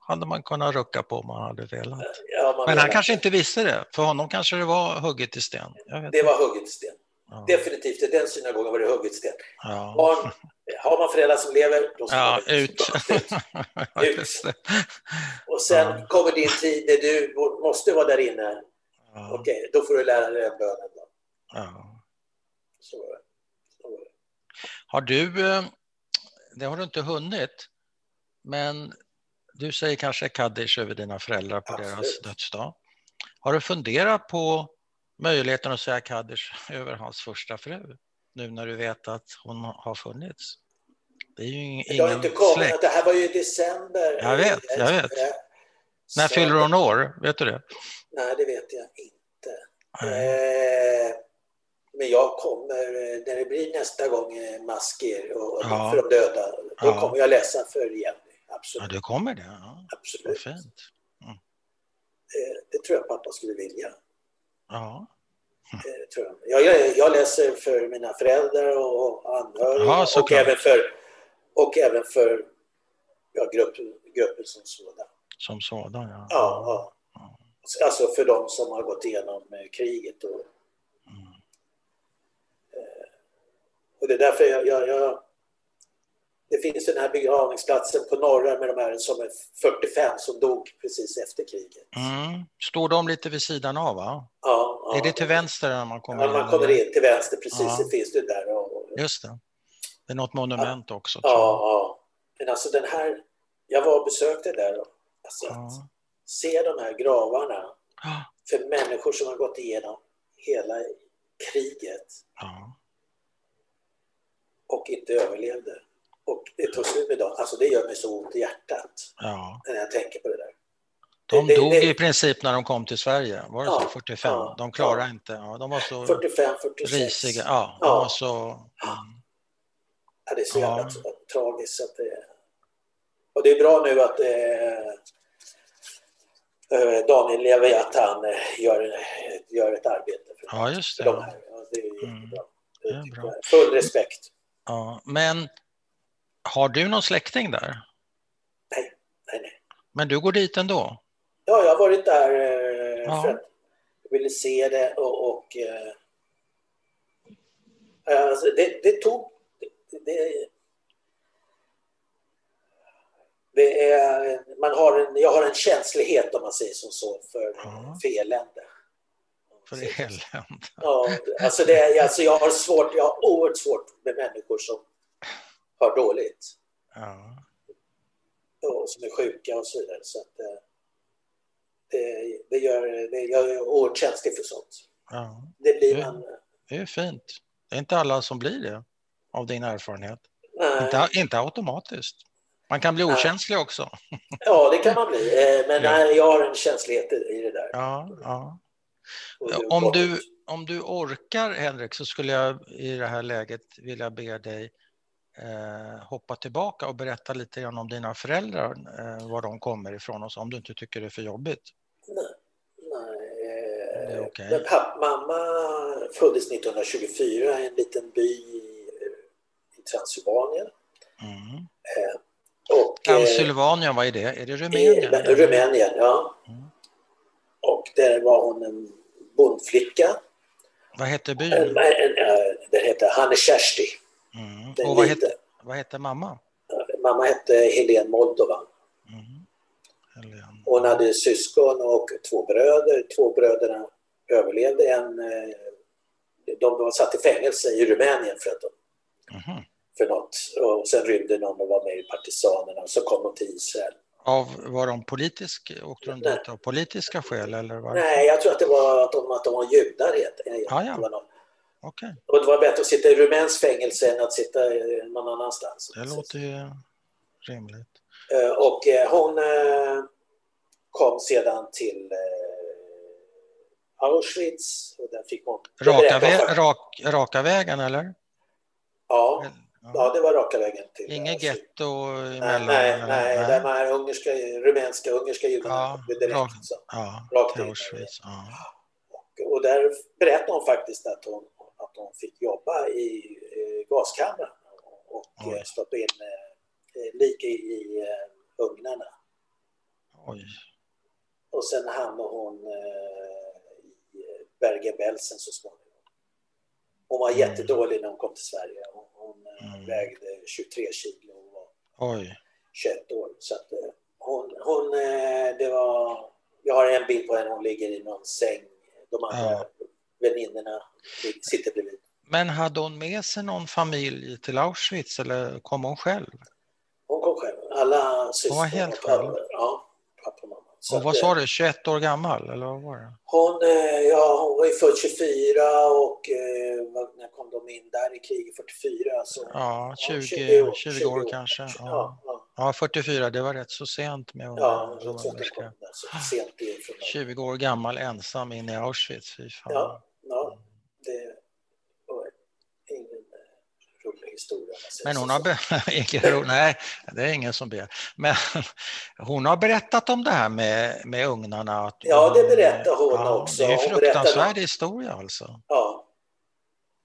S1: hade man kunnat rucka på om man hade velat.
S2: Ja, man
S1: Men han
S2: menar,
S1: kanske inte visste det. För honom kanske det var hugget i sten. Jag vet
S2: Det
S1: inte.
S2: var hugget i sten.
S1: Ja.
S2: Definitivt, i den synagogan var det hugget i sten.
S1: Ja.
S2: Barn, har man föräldrar som lever, då ska
S1: Ja,
S2: man
S1: ut.
S2: ut.
S1: Ja, just det.
S2: Och sen
S1: Ja.
S2: kommer din tid där du måste vara där inne.
S1: Ja,
S2: Okej, då får du lära dig den bönen. Då.
S1: ja.
S2: Så, var det. så. var det.
S1: Har du, eh, det har du inte hunnit, men du säger kanske kaddish över dina föräldrar på deras
S2: Absolut.
S1: dödsdag. Har du funderat på möjligheten att säga kaddish över hans första fru? Nu när du vet att hon har funnits. Det är ju ing-
S2: Men Det har
S1: ingen
S2: inte kommit,
S1: släkt.
S2: det här var ju i december. Eh,
S1: Jag vet, jag vet. När
S2: Så-
S1: fyller hon år? Vet du det?
S2: Nej, det vet jag inte.
S1: Nej.
S2: Eh, Men jag kommer, eh, när det blir nästa gång eh, masker och,
S1: Ja.
S2: för de döda, då
S1: Ja.
S2: kommer jag läsa för Jenny.
S1: Ja,
S2: Absolut.
S1: du kommer det. Ja, vad
S2: absolut.
S1: fint.
S2: Eh, Det tror jag pappa skulle vilja.
S1: Ja.
S2: Eh, tror jag. Jag, jag, jag läser för mina föräldrar och och anhöriga
S1: Ja,
S2: och,
S1: såklart.
S2: även för, och även för ja, gruppen, gruppen som sådan.
S1: Som sådan, ja.
S2: Ja, ja. Alltså för de som har gått igenom eh, kriget. Och, Eh, och det är därför jag, jag, jag... Det finns den här begravningsplatsen på norra med de här som är 45 som dog precis efter kriget.
S1: Mm. Står de lite vid sidan av? Va?
S2: Ja, ja.
S1: Är det till vänster när man kommer
S2: Ja,
S1: in?
S2: man kommer in till vänster precis,
S1: Ja.
S2: det finns det där. Och, och,
S1: Just det. Det är något monument också. tror
S2: Ja, ja. Men alltså den här, jag var och besökte där. och Alltså
S1: jag.
S2: att se de här gravarna
S1: Ja.
S2: för människor som har gått igenom hela kriget
S1: Ja.
S2: och inte överlevde. Och det tog slut med dem. Alltså det gör mig så ont i hjärtat
S1: ja.
S2: när jag tänker på det där.
S1: De
S2: Det- det-
S1: dog
S2: det-
S1: i princip när de kom till Sverige. Var det
S2: Ja,
S1: så? 45?
S2: ja,
S1: de klarade
S2: ja.
S1: inte. Ja, de var så
S2: 45, 46.
S1: Mm. risiga. Ja, de
S2: Ja.
S1: var så... Mm.
S2: Ja, det är så
S1: Ja.
S2: jävla tra- tragiskt. så Att det... Och det är bra nu att eh, eh, Daniel Levi, att han eh, gör, gör ett arbete för,
S1: Ja, just
S2: för de
S1: det.
S2: här. Ja, det är jättebra.
S1: Mm. Det
S2: Det
S1: är
S2: tycker
S1: bra.
S2: jag. Full respekt.
S1: Ja. Men har du någon släkting där?
S2: Nej, nej.
S1: Men du går dit ändå?
S2: Ja, jag har varit där eh,
S1: Ja.
S2: för att jag ville se det och... och eh, alltså, det, det tog... Det, det, det är, man har en, jag har en känslighet om man säger som så för,
S1: Ja.
S2: för elände.
S1: för i helvete.
S2: Ja, alltså, det, är- alltså jag, har svårt, jag har oerhört svårt med människor som har dåligt
S1: Ja.
S2: och som är sjuka och så vidare. Så att, eh, det, det gör, det, jag är oerhört känslig för sånt.
S1: ja,
S2: Det blir
S1: Mm.
S2: man...
S1: det är fint. Det är inte alla som blir det av din erfarenhet.
S2: Nej.
S1: Inte, inte automatiskt. Man kan bli
S2: Nej.
S1: okänslig också.
S2: Ja, det kan man bli. Eh, Men
S1: Ja.
S2: nej, jag har en känslighet i i det där.
S1: Ja, ja.
S2: Och det-
S1: Om du, om du orkar, Henrik, så skulle jag i det här läget vilja be dig eh, hoppa tillbaka och berätta lite grann om dina föräldrar, eh, var de kommer ifrån och så, om du inte tycker det är för jobbigt.
S2: Nej,
S1: Det
S2: eh,
S1: är okej.
S2: men papp, mamma föddes 1924 i en liten by i, i Transylvanien. Eh,
S1: Mm.
S2: Och, eh,
S1: Transylvanien, vad är det? Är det
S2: i
S1: Rumänien?
S2: eh, Rumänien. Rumänien ja.
S1: Mm.
S2: Och där var hon en bondflicka.
S1: Vad hette
S2: En,
S1: byn?
S2: en, eh, den hette Hanne Kersti.
S1: Mm.
S2: Den
S1: Och vad
S2: liten.
S1: hette, vad hette mamma?
S2: Mamma hette Helene Moldova.
S1: Mm. Helene.
S2: Hon hade syskon och två bröder. Två bröderna överlevde. En, eh, de var satt i fängelse i Rumänien för, att de,
S1: Mhm.
S2: för något. Och sen rymde någon och var med i partisanerna. Och så kom de till Israel.
S1: Av, var de politisk, åkte de
S2: Nej.
S1: dit av politiska skäl eller? Var...
S2: Nej, jag tror att det var att de, att de var judar. helt- eh,
S1: Ah, ja.
S2: det var någon-
S1: Okej,
S2: Och det var bättre att sitta i rumänskt fängelse än att sitta eh, någon annanstans.
S1: det låter ju rimligt.
S2: Eh, Och eh, hon eh, kom sedan till eh, Auschwitz. Och där fick hon... det
S1: Raka,
S2: berättar
S1: vä
S2: hon-
S1: rak, raka vägen eller?
S2: Ja,
S1: Ja.
S2: Ja, det var raka vägen till...
S1: Inget
S2: Auschwitz.
S1: getto
S2: Alltså, Nej,
S1: emellan?
S2: nej,
S1: eller?
S2: nej, de här ungerska, rumänska, ungerska judarna
S1: Ja,
S2: blev direkt.
S1: rakt.
S2: Så.
S1: Ja,
S2: Rakt
S1: till
S2: in.
S1: Auschwitz. Ja.
S2: Och, och där berättade hon faktiskt att hon, att hon fick jobba i eh, gaskammaren och
S1: Oj.
S2: eh, stoppa in eh, eh, lik i, i eh, ugnarna.
S1: Oj.
S2: Och sen hamnade hon eh, i Bergen-Belsen så småningom. Hon var
S1: Mm.
S2: jättedålig när hon kom till Sverige. Hon, hon eh,
S1: Mm.
S2: vägde 23 kilo och var
S1: Oj.
S2: 21 år. Så att eh, hon, hon eh, det var, jag har en bild på henne, hon ligger i någon säng. De andra
S1: Ja.
S2: väninnorna lig- sitter bredvid.
S1: Men hade hon med sig någon familj till Auschwitz eller kom hon själv?
S2: Hon kom själv. Alla systrar
S1: var helt
S2: och pappor.
S1: själv?
S2: Ja, pappa och mamma. Så
S1: Och
S2: att,
S1: vad
S2: eh,
S1: sa du, 21 år gammal eller vad var det?
S2: Hon, eh, ja, hon var ju född 24 och eh, vad- när kom de in där i kriget 44? Så,
S1: Ja, 20, 20 år, kanske. Ja.
S2: Ja, ja,
S1: ja, 44, det var rätt så sent med
S2: ja,
S1: ungar
S2: jag tror
S1: som
S2: att de kom
S1: ungerska.
S2: där så sent ifrån.
S1: 20 år gammal ensam in i Auschwitz, fy fan.
S2: Ja, ja, det var ingen eh, rolig historia. om man säger
S1: Men hon
S2: så.
S1: har, be- ingen ro- nej, det är ingen som ber. Men hon har berättat om det här med, med ugnarna. Att
S2: Ja, det berättar hon också.
S1: Det är ju
S2: Hon berättar-
S1: fruktansvärd historia alltså.
S2: Ja,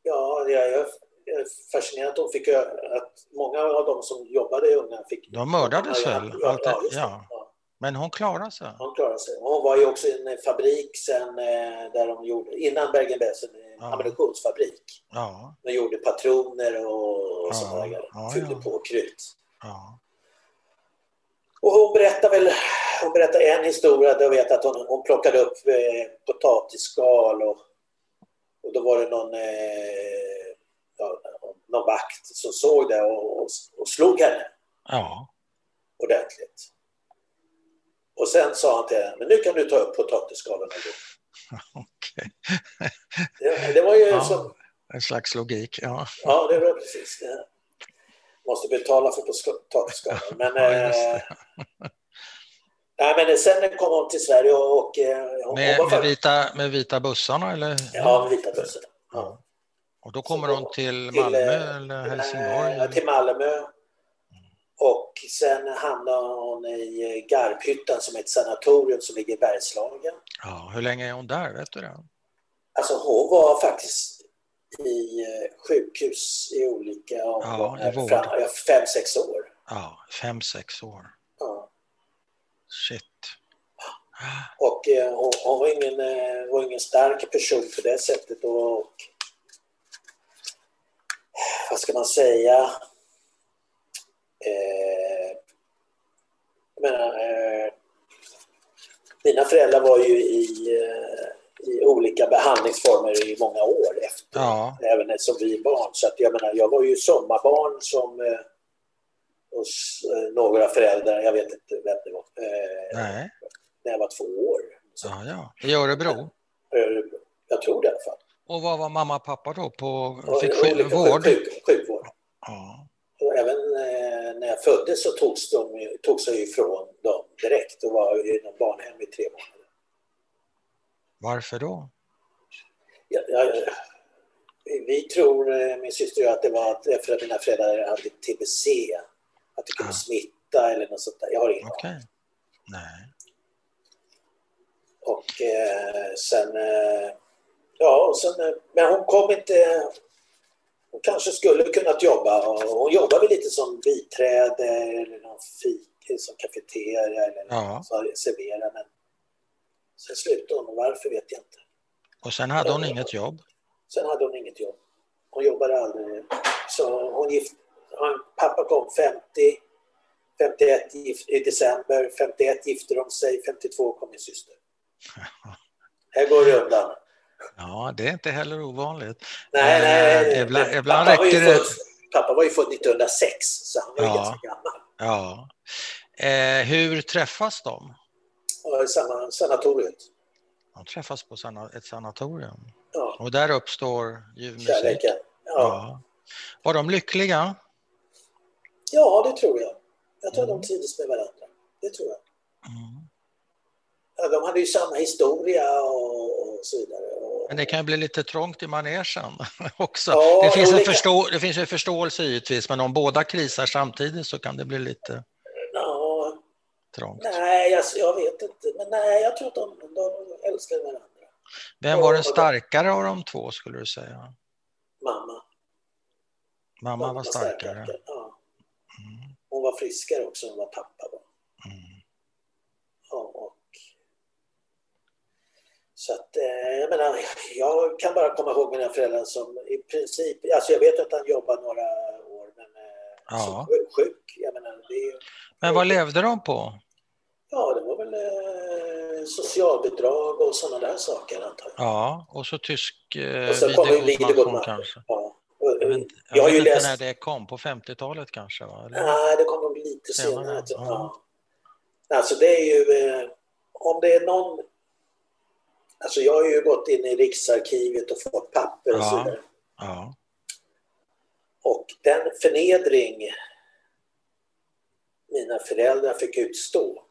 S2: ja jag, jag jag är fascinerad att, de fick, ö- att många av de som jobbade i Ungern fick...
S1: De mördades väl?
S2: Ja,
S1: Allt det-
S2: ja, just det.
S1: ja.
S2: ja.
S1: Men hon klarar sig.
S2: Hon klarade sig. Hon var ju också i en eh, fabrik sen eh, där de gjorde, innan Bergen-Belsen, en eh,
S1: Ja.
S2: ammunitionsfabrik.
S1: Ja,
S2: De gjorde patroner och, och sådana där grejer.
S1: Ja,
S2: Fyllde
S1: ja.
S2: på krut.
S1: ja.
S2: Och hon berättar väl, hon berättar en historia där jag vet att hon, hon plockade upp eh, potatisskal och, och då var det någon, eh, ja, någon vakt som såg det och, och, och slog henne
S1: ja.
S2: ordentligt. Och sen sa han till henne, men nu kan du ta upp potatisskalen och gå.
S1: Okej.
S2: Det, det var ju
S1: Ja.
S2: som,
S1: En slags logik. Ja,
S2: ja det var precis det. Måste betala för potatisskalen. Men,
S1: Ja, just det.
S2: eh, nej, men eh, sen kom hon till Sverige och, och eh, hon
S1: med,
S2: hon
S1: med,
S2: var för-
S1: vita, med vita bussarna eller?
S2: Ja, med vita bussen.
S1: Ja. Och då kommer
S2: Så-
S1: hon till
S2: till, eh,
S1: Malmö eller Helsingborg?
S2: Eh, Till Malmö. Och sen hamnade hon i eh, Garphyttan som är ett sanatorium som ligger i Bergslagen.
S1: Ja, hur länge är hon där? Vet du det?
S2: Alltså hon var faktiskt i eh, sjukhus i olika omgångar,
S1: i vård.
S2: fram, ja, fem, sex år.
S1: Ja, fem, sex år.
S2: Ja.
S1: Shit.
S2: Och eh, hon, hon var, ingen, eh, var ingen stark person på det sättet. Och, vad ska man säga? Eh, jag menar, eh, mina föräldrar var ju i, eh, i olika behandlingsformer i många år efter,
S1: Ja.
S2: även som vi barn. Så att jag menar, jag var ju sommarbarn som eh, hos eh, några föräldrar, jag vet inte vem det var, eh,
S1: Nej.
S2: när jag var två år. Så,
S1: Ja, ja. I Örebro.
S2: Örebro. Jag tror det i alla fall.
S1: Och vad var mamma och pappa då? På,
S2: Och
S1: fick
S2: olika
S1: sjukvård?
S2: Sjuk, sjukvård.
S1: Ja.
S2: Och även eh, när jag föddes så togs, de, ju- togs jag ju ifrån dem direkt och var i någon barnhem i tre månader.
S1: Varför då?
S2: Jag, jag, vi tror, eh, min syster och jag, att det var att- för att mina föräldrar hade tbc. Att det kunde
S1: Ah.
S2: smitta eller något sånt där. Jag har ingen aning.
S1: Okej. Nej.
S2: Och eh, sen... Eh, ja, och sen, eh, men hon kom inte... Hon kanske skulle kunnat jobba. Och hon jobbade väl lite som biträde eller någon fik, som kafeteria eller
S1: Ja.
S2: så servera. Men sen slutade hon. och Varför vet jag inte.
S1: Och sen hade hon inget jobb?
S2: Sen hade hon inget jobb. Hon jobbade aldrig. Så hon gift, han, pappa kom 50, 51 gift, i december, 51 gifte de sig, 52 kom min syster. Här går det undan.
S1: Ja, det är inte heller ovanligt.
S2: Nej, nej.
S1: Eh, ibland-
S2: Men
S1: ibland
S2: pappa var ju
S1: räcker det-
S2: Född, pappa var ju född 1906, så han var ju
S1: Ja.
S2: ganska gammal.
S1: Ja. Eh, hur träffas de?
S2: Och i samma sanatoriet.
S1: De träffas på sana- ett sanatorium.
S2: Ja,
S1: Och där uppstår ljuv musik.
S2: kärleken. Ja.
S1: Ja. Var de lyckliga?
S2: ja, det tror jag. Jag tror
S1: Mm.
S2: de trivdes med varandra. Det tror jag.
S1: Mm.
S2: Ja, de hade ju samma historia och, och så vidare. Och,
S1: Men det kan ju bli lite trångt i manegen också.
S2: Ja,
S1: Alltså, det, finns
S2: jo,
S1: en
S2: det kan-
S1: förstå- det finns en förståelse givetvis, men om båda krisar samtidigt så kan det bli lite
S2: Ja,
S1: trångt.
S2: nej, alltså, jag vet inte. Men nej, jag tror att de, de älskade varandra.
S1: Vem var den starkare av de två skulle du säga?
S2: Mamma.
S1: Mamma var starkare.
S2: Ja.
S1: Mm.
S2: Hon var friskare också än vad pappa var.
S1: Mm.
S2: Ja, och... Så att, eh, jag menar, jag kan bara komma ihåg mina föräldrar som i princip, alltså jag vet att han jobbade några år men eh,
S1: Ja.
S2: så sjuk- sjuk, jag menar det, är-
S1: Men vad levde de på?
S2: ja det var väl eh, socialbidrag och sådana där saker antar jag.
S1: Ja, och så tysk eh,
S2: Och så kom ju
S1: videogodpension
S2: videogodman.
S1: kanske.
S2: Ja. Och,
S1: Jag
S2: eh,
S1: vet, inte-
S2: Jag
S1: jag
S2: har
S1: vet
S2: ju
S1: inte
S2: läst-
S1: när det kom, på 50-talet kanske? Va? Eller?
S2: Nej, det kom nog lite senare.
S1: Senare,
S2: tror jag.
S1: Mm. ja.
S2: Ja. Alltså det är ju, eh, om det är någon... Alltså jag har ju gått in i Riksarkivet och fått papper och så
S1: Ja.
S2: vidare.
S1: Ja.
S2: Och den förnedring mina föräldrar fick utstå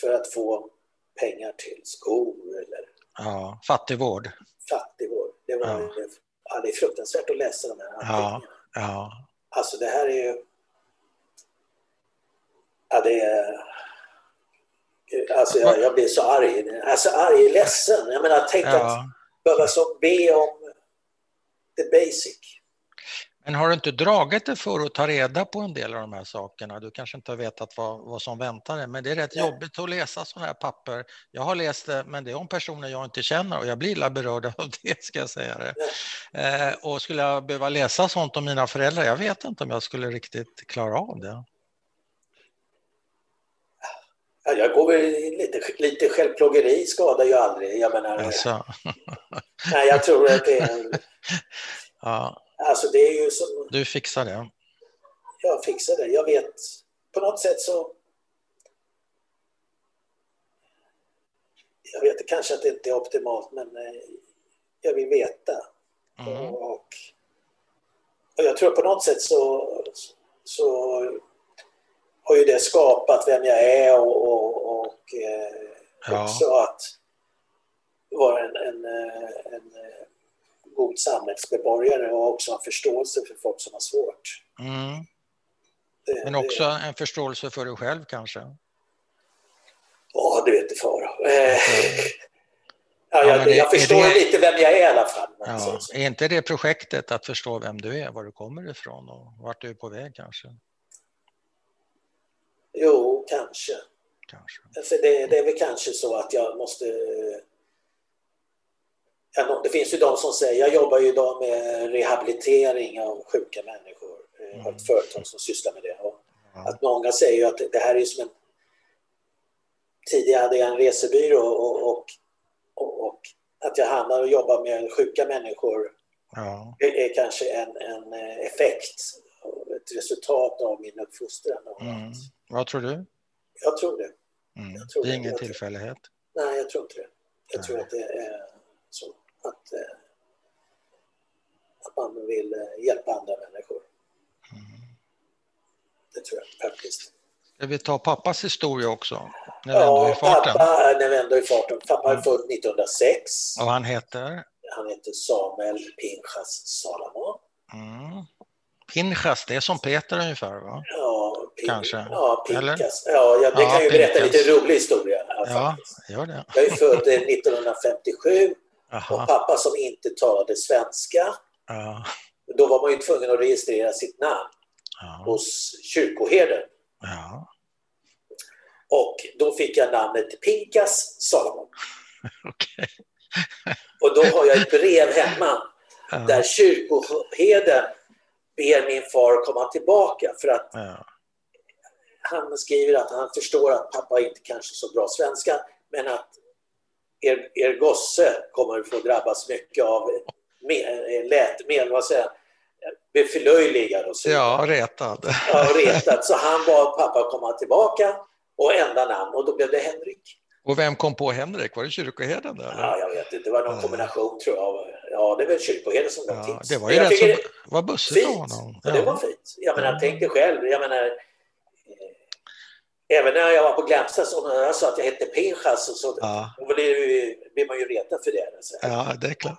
S2: för att få pengar till skor eller
S1: ja, fattigvård.
S2: fattigvård. Det, var,
S1: Ja.
S2: ja. det är fruktansvärt att läsa de här anteckningarna.
S1: Ja,
S2: Alltså det här är ju... Ja, det är... Gud, Alltså jag, jag blir så arg. Alltså arg, ledsen. Jag menar, tänk att
S1: ja.
S2: behöva som be om the basic.
S1: Men har du inte dragit dig för att ta reda på en del av de här sakerna? Du kanske inte har vetat vad, vad som väntar dig, men det är rätt
S2: Nej.
S1: jobbigt att läsa sådana här papper. Jag har läst det, men det är om personer jag inte känner och jag blir illa berörd av det, ska jag säga det. Eh, och skulle jag behöva läsa sånt om mina föräldrar? Jag vet inte om jag skulle riktigt klara av det.
S2: Ja, jag går väl in lite, lite självplågeri skadar ju aldrig. Jag menar,
S1: Alltså,
S2: nej, jag tror att det är...
S1: ja,
S2: Alltså det är ju som...
S1: du fixar det.
S2: Jag fixar det. Jag vet... På något sätt så... Jag vet kanske att det inte är optimalt, men eh, jag vill veta.
S1: Mm.
S2: Och, och jag tror på något sätt så, så har ju det skapat vem jag är och, och, och eh,
S1: Ja.
S2: också att vara en, en, eh, en eh, god samhällsmedborgare och också ha förståelse för folk som har svårt.
S1: Mm.
S2: Det-
S1: Men
S2: det-
S1: också en förståelse för dig själv kanske.
S2: Ja, du vet inte fara. Eh, ja,
S1: men
S2: jag,
S1: det-
S2: jag
S1: är
S2: förstår
S1: det-
S2: lite vem jag är i alla fall. Men
S1: Ja.
S2: så- så-
S1: Är inte det projektet att förstå vem du är, var du kommer ifrån och vart du är på väg kanske?
S2: Jo, kanske.
S1: kanske.
S2: Alltså det, det är väl kanske så att jag måste... eh, ja, Det finns ju de som säger, jag jobbar ju idag med rehabilitering av sjuka människor. Jag har
S1: Mm.
S2: ett företag som sysslar med det. Och
S1: Ja.
S2: att många säger ju att det här är ju som en... Tidigare hade jag en resebyrå och, och, och, och, att jag hamnar och jobbar med sjuka människor
S1: Ja.
S2: är är kanske en, en eh, effekt, ett resultat av min uppfostran. och
S1: Mm.
S2: allt.
S1: Vad tror du?
S2: Jag tror det.
S1: Mm.
S2: Jag tror
S1: Det är
S2: det.
S1: ingen
S2: Jag tror-
S1: tillfällighet.
S2: Nej, jag tror inte det. Jag
S1: Nej.
S2: tror att det är så att, eh, att man vill eh, hjälpa andra människor.
S1: Mm.
S2: Det tror jag faktiskt.
S1: Ska vi ta pappas historia också? När vi ändå är i
S2: Ja,
S1: farten.
S2: pappa, när vi ändå är i farten. Pappa är
S1: Mm.
S2: född 1906.
S1: Och han heter?
S2: Han heter Samuel Pinchas Salomon.
S1: Mm. Pinchas, det är som Peter ungefär va?
S2: Ja, Pin-
S1: Kanske.
S2: Ja,
S1: Eller?
S2: Pinchas. Ja, jag, det
S1: Ja,
S2: kan ju berätta
S1: Pinchas.
S2: lite rolig historia. här
S1: Ja,
S2: faktiskt.
S1: gör det.
S2: Jag är född eh, 1957 och
S1: Aha.
S2: pappa som inte talade svenska.
S1: Ja.
S2: Då var man ju tvungen att registrera sitt namn.
S1: Ja.
S2: hos kyrkoherden.
S1: Ja.
S2: Och då fick jag namnet Pinkas Salomon.
S1: Okej.
S2: Och då har jag ett brev hemma där
S1: Ja.
S2: kyrkoherden ber min far komma tillbaka för att
S1: Ja.
S2: han skriver att han förstår att pappa inte kanske så bra svenska men att er, er gosse kommer få drabbas mycket av med, lät, med, vad säger jag, blir förlöjligad och så vidare.
S1: ja, retad.
S2: Ja, och retat. Så han bad pappa komma tillbaka och ändra namn och då blev det Henrik.
S1: Och vem kom på Henrik? Var det kyrkoherden? där, eller?
S2: Ja, jag vet inte. Det var någon
S1: Ja.
S2: kombination tror jag. av- Ja, det är väl kyrkoherden som gav
S1: Ja,
S2: tips.
S1: det var
S2: Men
S1: ju
S2: jag
S1: rätt
S2: tycker
S1: så... Vad bussigt av
S2: fint.
S1: honom.
S2: Ja. Det var
S1: Ja.
S2: fint. Jag menar,
S1: Ja.
S2: tänk dig själv. Jag menar, eh, även när jag var på Glämsta så när jag sa att jag hette Pinchas och så
S1: Ja.
S2: då blir, ju- blir man ju retad för det. Alltså.
S1: ja, det är klart.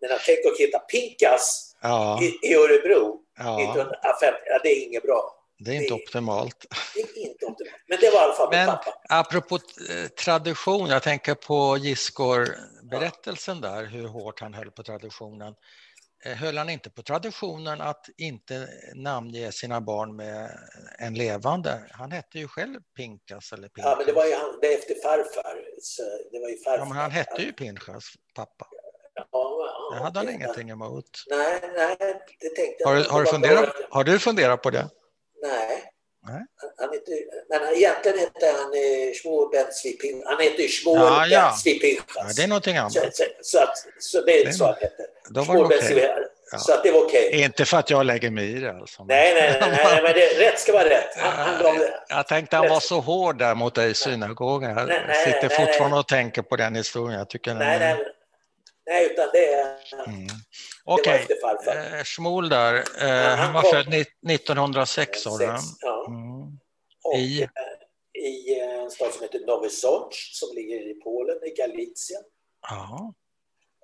S2: Men att tänk att hitta Pinkas
S1: Ja.
S2: i, i Örebro
S1: Ja.
S2: 1950, ja, det är inget bra.
S1: Det är inte optimalt.
S2: Det är inte optimalt. Men det var i alla fall min
S1: Men
S2: pappa.
S1: apropå eh, tradition, jag tänker på Gisgård-berättelsen där, hur hårt han höll på traditionen. Eh, Höll han inte på traditionen att inte namnge sina barn med en levande? Han hette ju själv Pinkas eller Pinkas.
S2: Ja, men det var ju han, det är efter farfar. Så det var ju farfar.
S1: Ja, men han hette ju Pinchas pappa.
S2: Ja, ja,
S1: Det hade han
S2: okej.
S1: ingenting emot.
S2: Nej, nej, det tänkte jag
S1: Har, du-
S2: inte.
S1: har, du
S2: Det var
S1: funderat,
S2: bara-
S1: har du funderat på det?
S2: Nej.
S1: Nej.
S2: Han heter, men han- egentligen hette han eh, Shmuel Ben Svipin. Han heter ju Shmuel
S1: Ja, ja.
S2: Ben Svipichas.
S1: Ja, det är någonting
S2: så,
S1: annat.
S2: så, så, att, så det är
S1: Det-
S2: så han heter.
S1: Då var
S2: Shmuel
S1: det
S2: Ben
S1: okej.
S2: Svipichas.
S1: Ja.
S2: Så att det var okej.
S1: Inte för att jag lägger mig i det alltså. men-
S2: Nej, nej, nej, nej, men det, rätt ska vara rätt. Han, han gav det.
S1: Jag tänkte han var så hård där mot dig i synagogan. Jag
S2: Nej, nej,
S1: sitter
S2: nej,
S1: fortfarande och tänker på den historien. Jag tycker den
S2: Nej,
S1: är...
S2: nej, nej, utan det, är-
S1: Mm.
S2: det var
S1: Okej,
S2: efter farfar.
S1: eh, Shmuel där. eh,
S2: han
S1: Han var
S2: kom-
S1: född ni- 1906 sa du?
S2: Sex, ja.
S1: Mm.
S2: Och
S1: I-
S2: eh, i eh, en stad som heter Novi Sącz som ligger i Polen, i Galizien.
S1: Ja.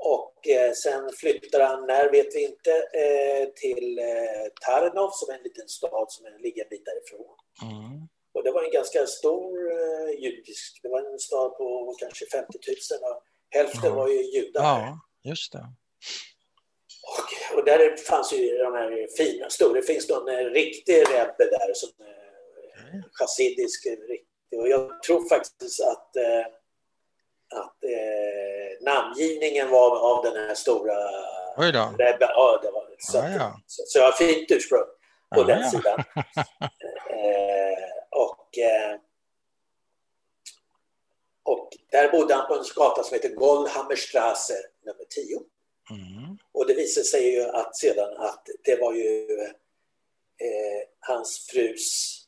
S2: Och eh, sen flyttar han, när vet vi inte, eh, till eh, Tarnov som är en liten stad som är- ligger en bit därifrån.
S1: Mm.
S2: Och det var en ganska stor eh, judisk, det var en stad på kanske 50 000 och hälften
S1: Ja.
S2: var ju judar.
S1: ja, just det.
S2: Och, och där fanns ju de här fina, stora, det finns någon eh, riktig rebbe där som
S1: Mm.
S2: eh, chassidisk, eh, riktig. Och jag tror faktiskt att, eh, att eh, namngivningen var av den här stora
S1: Oj då.
S2: Det, ja, det var det. Så,
S1: Ja, ja.
S2: så, så jag har fint ursprung på
S1: Ja,
S2: den
S1: ja.
S2: sidan. Eh, och, eh, och där bodde han på en gata som heter Goldhammerstrasse nummer 10.
S1: Mm.
S2: Och det visade sig ju att sedan att det var ju eh, hans frus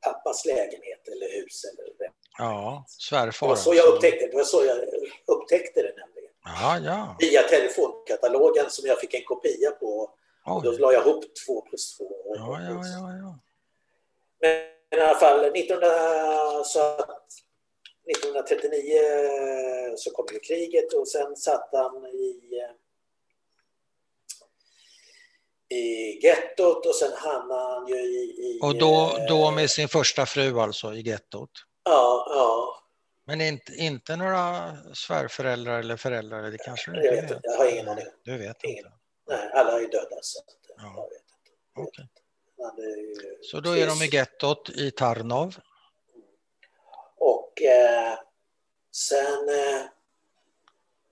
S2: pappas lägenhet eller hus. Eller det.
S1: Ja,
S2: det
S1: svärfar.
S2: var så jag
S1: alltså.
S2: upptäckte det, var så jag upptäckte det nämligen.
S1: Ja, ja.
S2: Via telefonkatalogen som jag fick en kopia på
S1: Oj.
S2: Då la jag ihop två plus två. och-
S1: Ja, ja, ja, ja.
S2: Men i alla fall 1900, så att 1939 så kom ju kriget och sen satt han i i gettot och sen hamnade han ju i... i
S1: Och då,
S2: eh,
S1: då med sin första fru alltså i gettot.
S2: Ja, ja.
S1: Men inte, inte några svärföräldrar eller föräldrar? Det kanske du
S2: Jag
S1: inte
S2: vet inte. Jag har
S1: Mm.
S2: ingen aning.
S1: Du vet
S2: Ingen.
S1: inte?
S2: Nej, alla är ju döda så att,
S1: Ja.
S2: jag vet inte.
S1: Okej.
S2: Han är ju-
S1: Så då är de i gettot i Tarnov.
S2: Och eh, sen eh,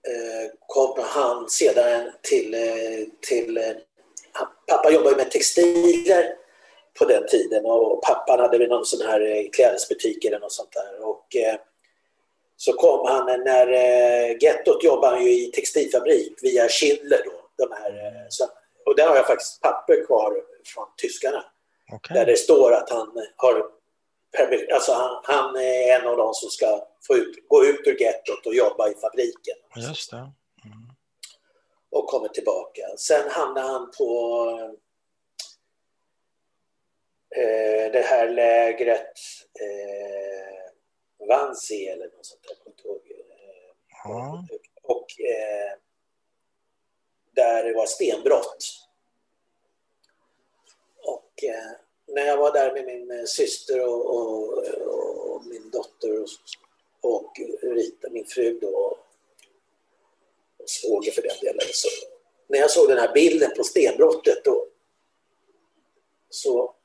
S2: eh, kom han sedan till, eh, till eh, han- pappa jobbade med textiler på den tiden och pappan hade väl någon sån här eh, klädesbutik eller något sånt där. Och, eh, Så kom han, när eh, gettot jobbade han ju i textilfabrik via Schindler då. De här, eh, så, och där har jag faktiskt papper kvar från tyskarna.
S1: Okej.
S2: Där det står att han har permi- alltså han, han är en av de som ska få ut, gå ut ur gettot och jobba i fabriken.
S1: Just det. Mm.
S2: Och kommer tillbaka. Sen hamnar han på eh, det här lägret eh, Wannsee eller något sånt där. jag kommer inte ihåg. Eh,
S1: Ja.
S2: Och eh, där det var stenbrott. Och eh, när jag var där med min eh, syster och, och, och min dotter och, och Rita, min fru då, och svåger för den delen. Så, när jag såg den här bilden på stenbrottet då, så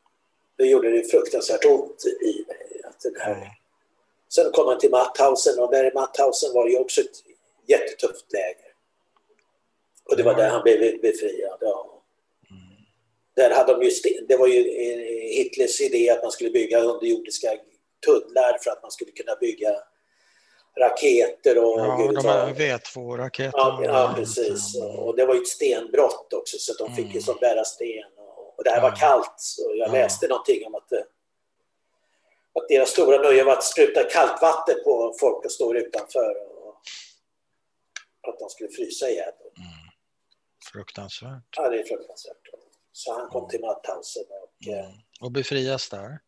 S2: det gjorde det fruktansvärt ont i mig. Att den här
S1: Ja.
S2: Sen kom han till Matthausen och där i Matthausen var det ju också ett jättetufft läger. Och det var
S1: Mm.
S2: där han blev befriad. Ja. Där hade de ju, sten- det var ju eh, Hitlers idé att man skulle bygga underjordiska tunnlar för att man skulle kunna bygga raketer och
S1: Ja, de
S2: gud vad-
S1: här Mm. V2-raketerna.
S2: ja, ja, precis. Och det var ju ett stenbrott också så att de fick ju som bära sten. Och det här var
S1: Mm. Ja.
S2: kallt så jag
S1: Ja.
S2: läste någonting om att, eh, att deras stora nöje var att spruta kallt vatten på folk som står utanför. Och att de skulle frysa ihjäl.
S1: Mm. Fruktansvärt.
S2: Ja, det är fruktansvärt. Så han kom till Matthausen och eh,
S1: Mm. Och befrias där.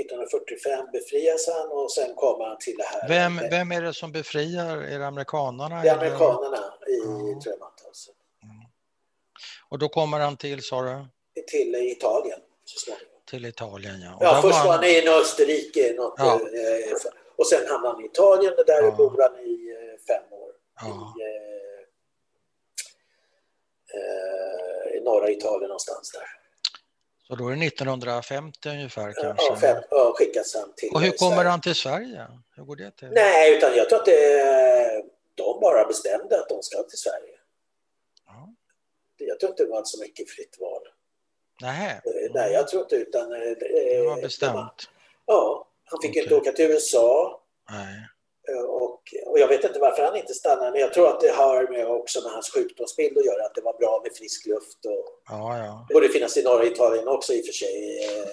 S2: 1945 befrias han och sen kommer han till det här.
S1: Vem, vem är det som befriar? Är det amerikanarna?
S2: Det är
S1: eller-
S2: amerikanerna i
S1: Ja.
S2: tror jag, Matthausen.
S1: Och då kommer han till, sa du?
S2: Till Italien så småningom.
S1: Till Italien, ja. Och
S2: Ja,
S1: där
S2: först var
S1: var
S2: han i Österrike något,
S1: Ja.
S2: eh, f- och sen hamnade han i Italien och där
S1: Ja.
S2: bor han i eh, fem år.
S1: Ja.
S2: I, eh, eh, I norra Italien någonstans där.
S1: Så då är det 1950 ungefär
S2: Ja,
S1: kanske.
S2: fem, ja, skickas han till
S1: Och hur kommer
S2: Sverige.
S1: han till Sverige? Hur går det till?
S2: Nej, utan jag tror att det, de bara bestämde att de ska till Sverige.
S1: Ja.
S2: Jag tror inte det var så mycket fritt val.
S1: Nähä,
S2: Eh, Nej, jag tror inte utan... eh,
S1: Mm. det var
S2: eh,
S1: bestämt.
S2: Ja, han fick ju inte
S1: Okej.
S2: åka till USA.
S1: Nej.
S2: Eh, Och, och jag vet inte varför han inte stannar, men jag tror att det har med också med hans sjukdomsbild att göra, att det var bra med frisk luft. Och,
S1: Ja, ja.
S2: det borde finnas i norra Italien också i och för sig. eh,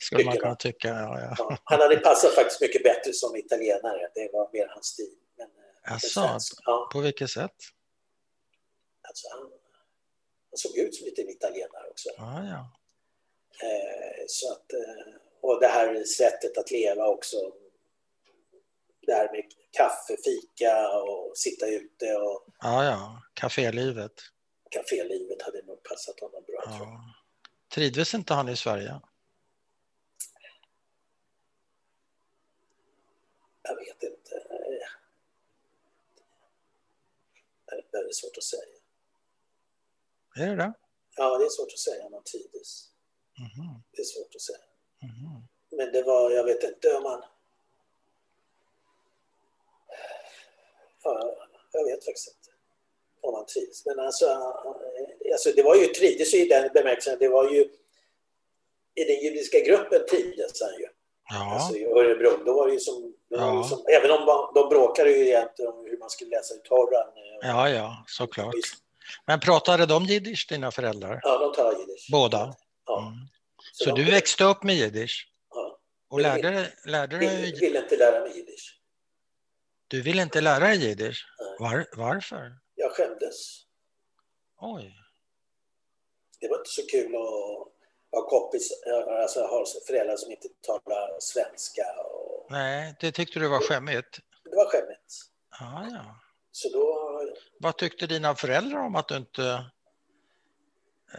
S1: Skulle man
S2: tycker
S1: kunna
S2: jag.
S1: tycka. Ja, ja.
S2: Ja, Han hade passat faktiskt mycket bättre som italienare, det var mer hans stil. Men, eh, men
S1: Asså.
S2: svensk- ja,
S1: På vilket sätt?
S2: alltså, han, han såg ut som lite en italienare också.
S1: Ja, ja.
S2: Eh, så att, eh, och det här sättet att leva också. Det här med kaffe, fika och sitta ute och
S1: ja, ja. Cafélivet.
S2: kafélivet hade nog passat honom bra. tror jag.
S1: Ja. Trivdes inte han i Sverige?
S2: Jag vet inte. Eh, Det är svårt att säga.
S1: Är det det?
S2: Ja, det är svårt att säga om han trivdes.
S1: Mhm,
S2: Det är svårt att säga.
S1: mhm.
S2: Men det var, jag vet inte om han... Ja, jag vet faktiskt inte om han trivdes. Men alltså, eh, alltså det var ju trivdes ju i den bemärkelsen. Det var ju... I den judiska gruppen trivdes han ju.
S1: Ja,
S2: Alltså i Örebro, då var det ju som, då var det ju
S1: Ja.
S2: som även om de- de bråkade ju egentligen om hur man skulle läsa ut Torran. eh,
S1: ja, ja, såklart.
S2: visst.
S1: Men pratade de jiddisch, dina föräldrar?
S2: Ja, de talar jiddisch.
S1: Båda?
S2: Ja.
S1: Mm. Så
S2: de-
S1: du växte upp med jiddisch?
S2: Ja.
S1: Och lärde, dig- lärde
S2: Ville,
S1: dig...
S2: ville inte lära mig jiddisch.
S1: Du ville inte lära dig jiddisch?
S2: Nej.
S1: Var, varför?
S2: Jag skämdes.
S1: Oj.
S2: Det var inte så kul att ha kompis, alltså ha föräldrar som inte talar svenska. Och,
S1: Nej, det tyckte du var skämmigt.
S2: det var skämmigt.
S1: Ja, ja.
S2: Så då...
S1: Vad tyckte dina föräldrar om att du inte... Eh,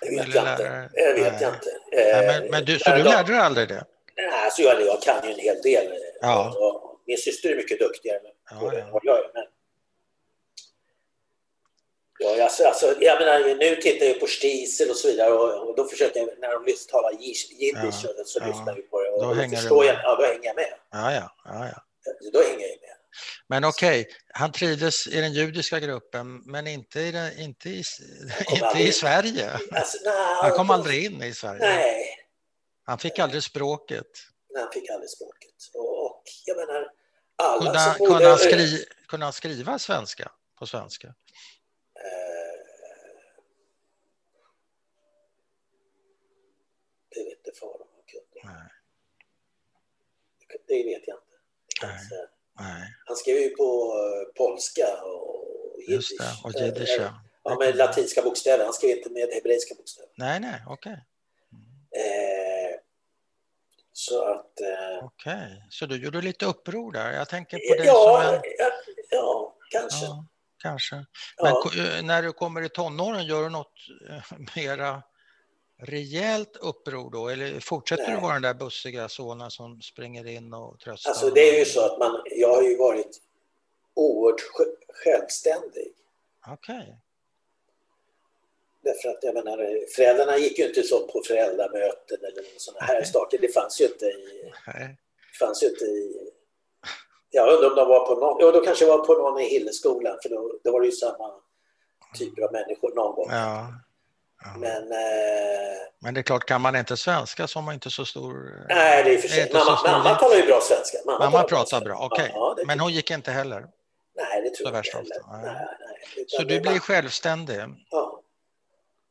S2: Jag vet
S1: Ville
S2: jag
S1: lära
S2: inte.
S1: dig?
S2: Jag vet
S1: Nej.
S2: jag inte.
S1: nej,
S2: Eh,
S1: men, men du, så du
S2: de-
S1: lärde dig aldrig det?
S2: Nej, alltså jag, jag kan ju en hel del.
S1: Ja.
S2: Och Min syster är mycket duktigare på
S1: Ja,
S2: det
S1: ja.
S2: än vad jag är. Men... Ja, alltså, alltså, jag menar, nu tittar jag på Stiesel och så vidare och, och då försöker jag, när de lyssnar, talar jiddisch
S1: Ja,
S2: så, så
S1: ja.
S2: lyssnar vi på det och
S1: Då
S2: då,
S1: hänger du
S2: förstår jag,
S1: med.
S2: ja, då hänger jag med.
S1: Ja, ja. ja, ja.
S2: Då hänger jag med.
S1: Men okej, han trivdes i den judiska gruppen, men inte i, den, inte i,
S2: kom
S1: inte
S2: aldrig
S1: i
S2: in.
S1: Sverige.
S2: Alltså, nej,
S1: Han kom aldrig in i Sverige.
S2: Nej,
S1: Han fick aldrig språket.
S2: Nej, han fick aldrig språket. Och, och jag menar, Alla
S1: Kunde,
S2: som
S1: han-
S2: bodde...
S1: kunde, han skri, kunde han skriva svenska på svenska?
S2: Eh, Det vet inte fan om han kunde.
S1: Nej.
S2: Det vet jag inte. Alltså, Det
S1: Nej.
S2: kanske-
S1: Nej,
S2: Han skrev ju på eh, polska och
S1: just det. Och
S2: Eh,
S1: jiddisch, ja.
S2: Ja, med latinska bokstäver. Han skrev inte med hebreiska bokstäver.
S1: Nej, nej, okej. Mm.
S2: Eh, så att... Eh,
S1: Okej, så du gjorde lite uppror där. Jag tänker på dig som
S2: ja,
S1: en...
S2: ja, ja, kanske. Ja,
S1: Ja, kanske. Men ko- eh, när du kommer i tonåren, gör du något eh, mera rejält uppror då? Eller fortsätter du
S2: Nej.
S1: vara den där bussiga sonen som springer in och tröstar?
S2: alltså det är ju så att man... Jag har ju varit oerhört sj- självständig.
S1: Okej.
S2: Därför att jag menar, eh, föräldrarna gick ju inte så på föräldramöten eller sådana här
S1: Nej.
S2: saker. Det fanns ju inte i...
S1: Nej.
S2: fanns ju inte i... Jag undrar om de var på någon... Ja, de kanske var på någon i Hilleskolan för då, då var det ju samma typer av människor någon gång.
S1: Ja. Ja. Men...
S2: Men... Eh,
S1: det är klart, kan man inte svenska så har man inte så stor...
S2: nej, det är för sig.
S1: inte så
S2: Mamma,
S1: stor
S2: mamma
S1: vikt.
S2: talar ju bra svenska.
S1: Mamma pratar
S2: svenska.
S1: bra, okej.
S2: Ja, det,
S1: Men hon gick inte heller.
S2: nej, det tror
S1: så
S2: jag
S1: värst
S2: inte heller.
S1: ofta, nej.
S2: Nej, nej.
S1: Så
S2: Utan
S1: du
S2: det-
S1: blir självständig.
S2: Ja.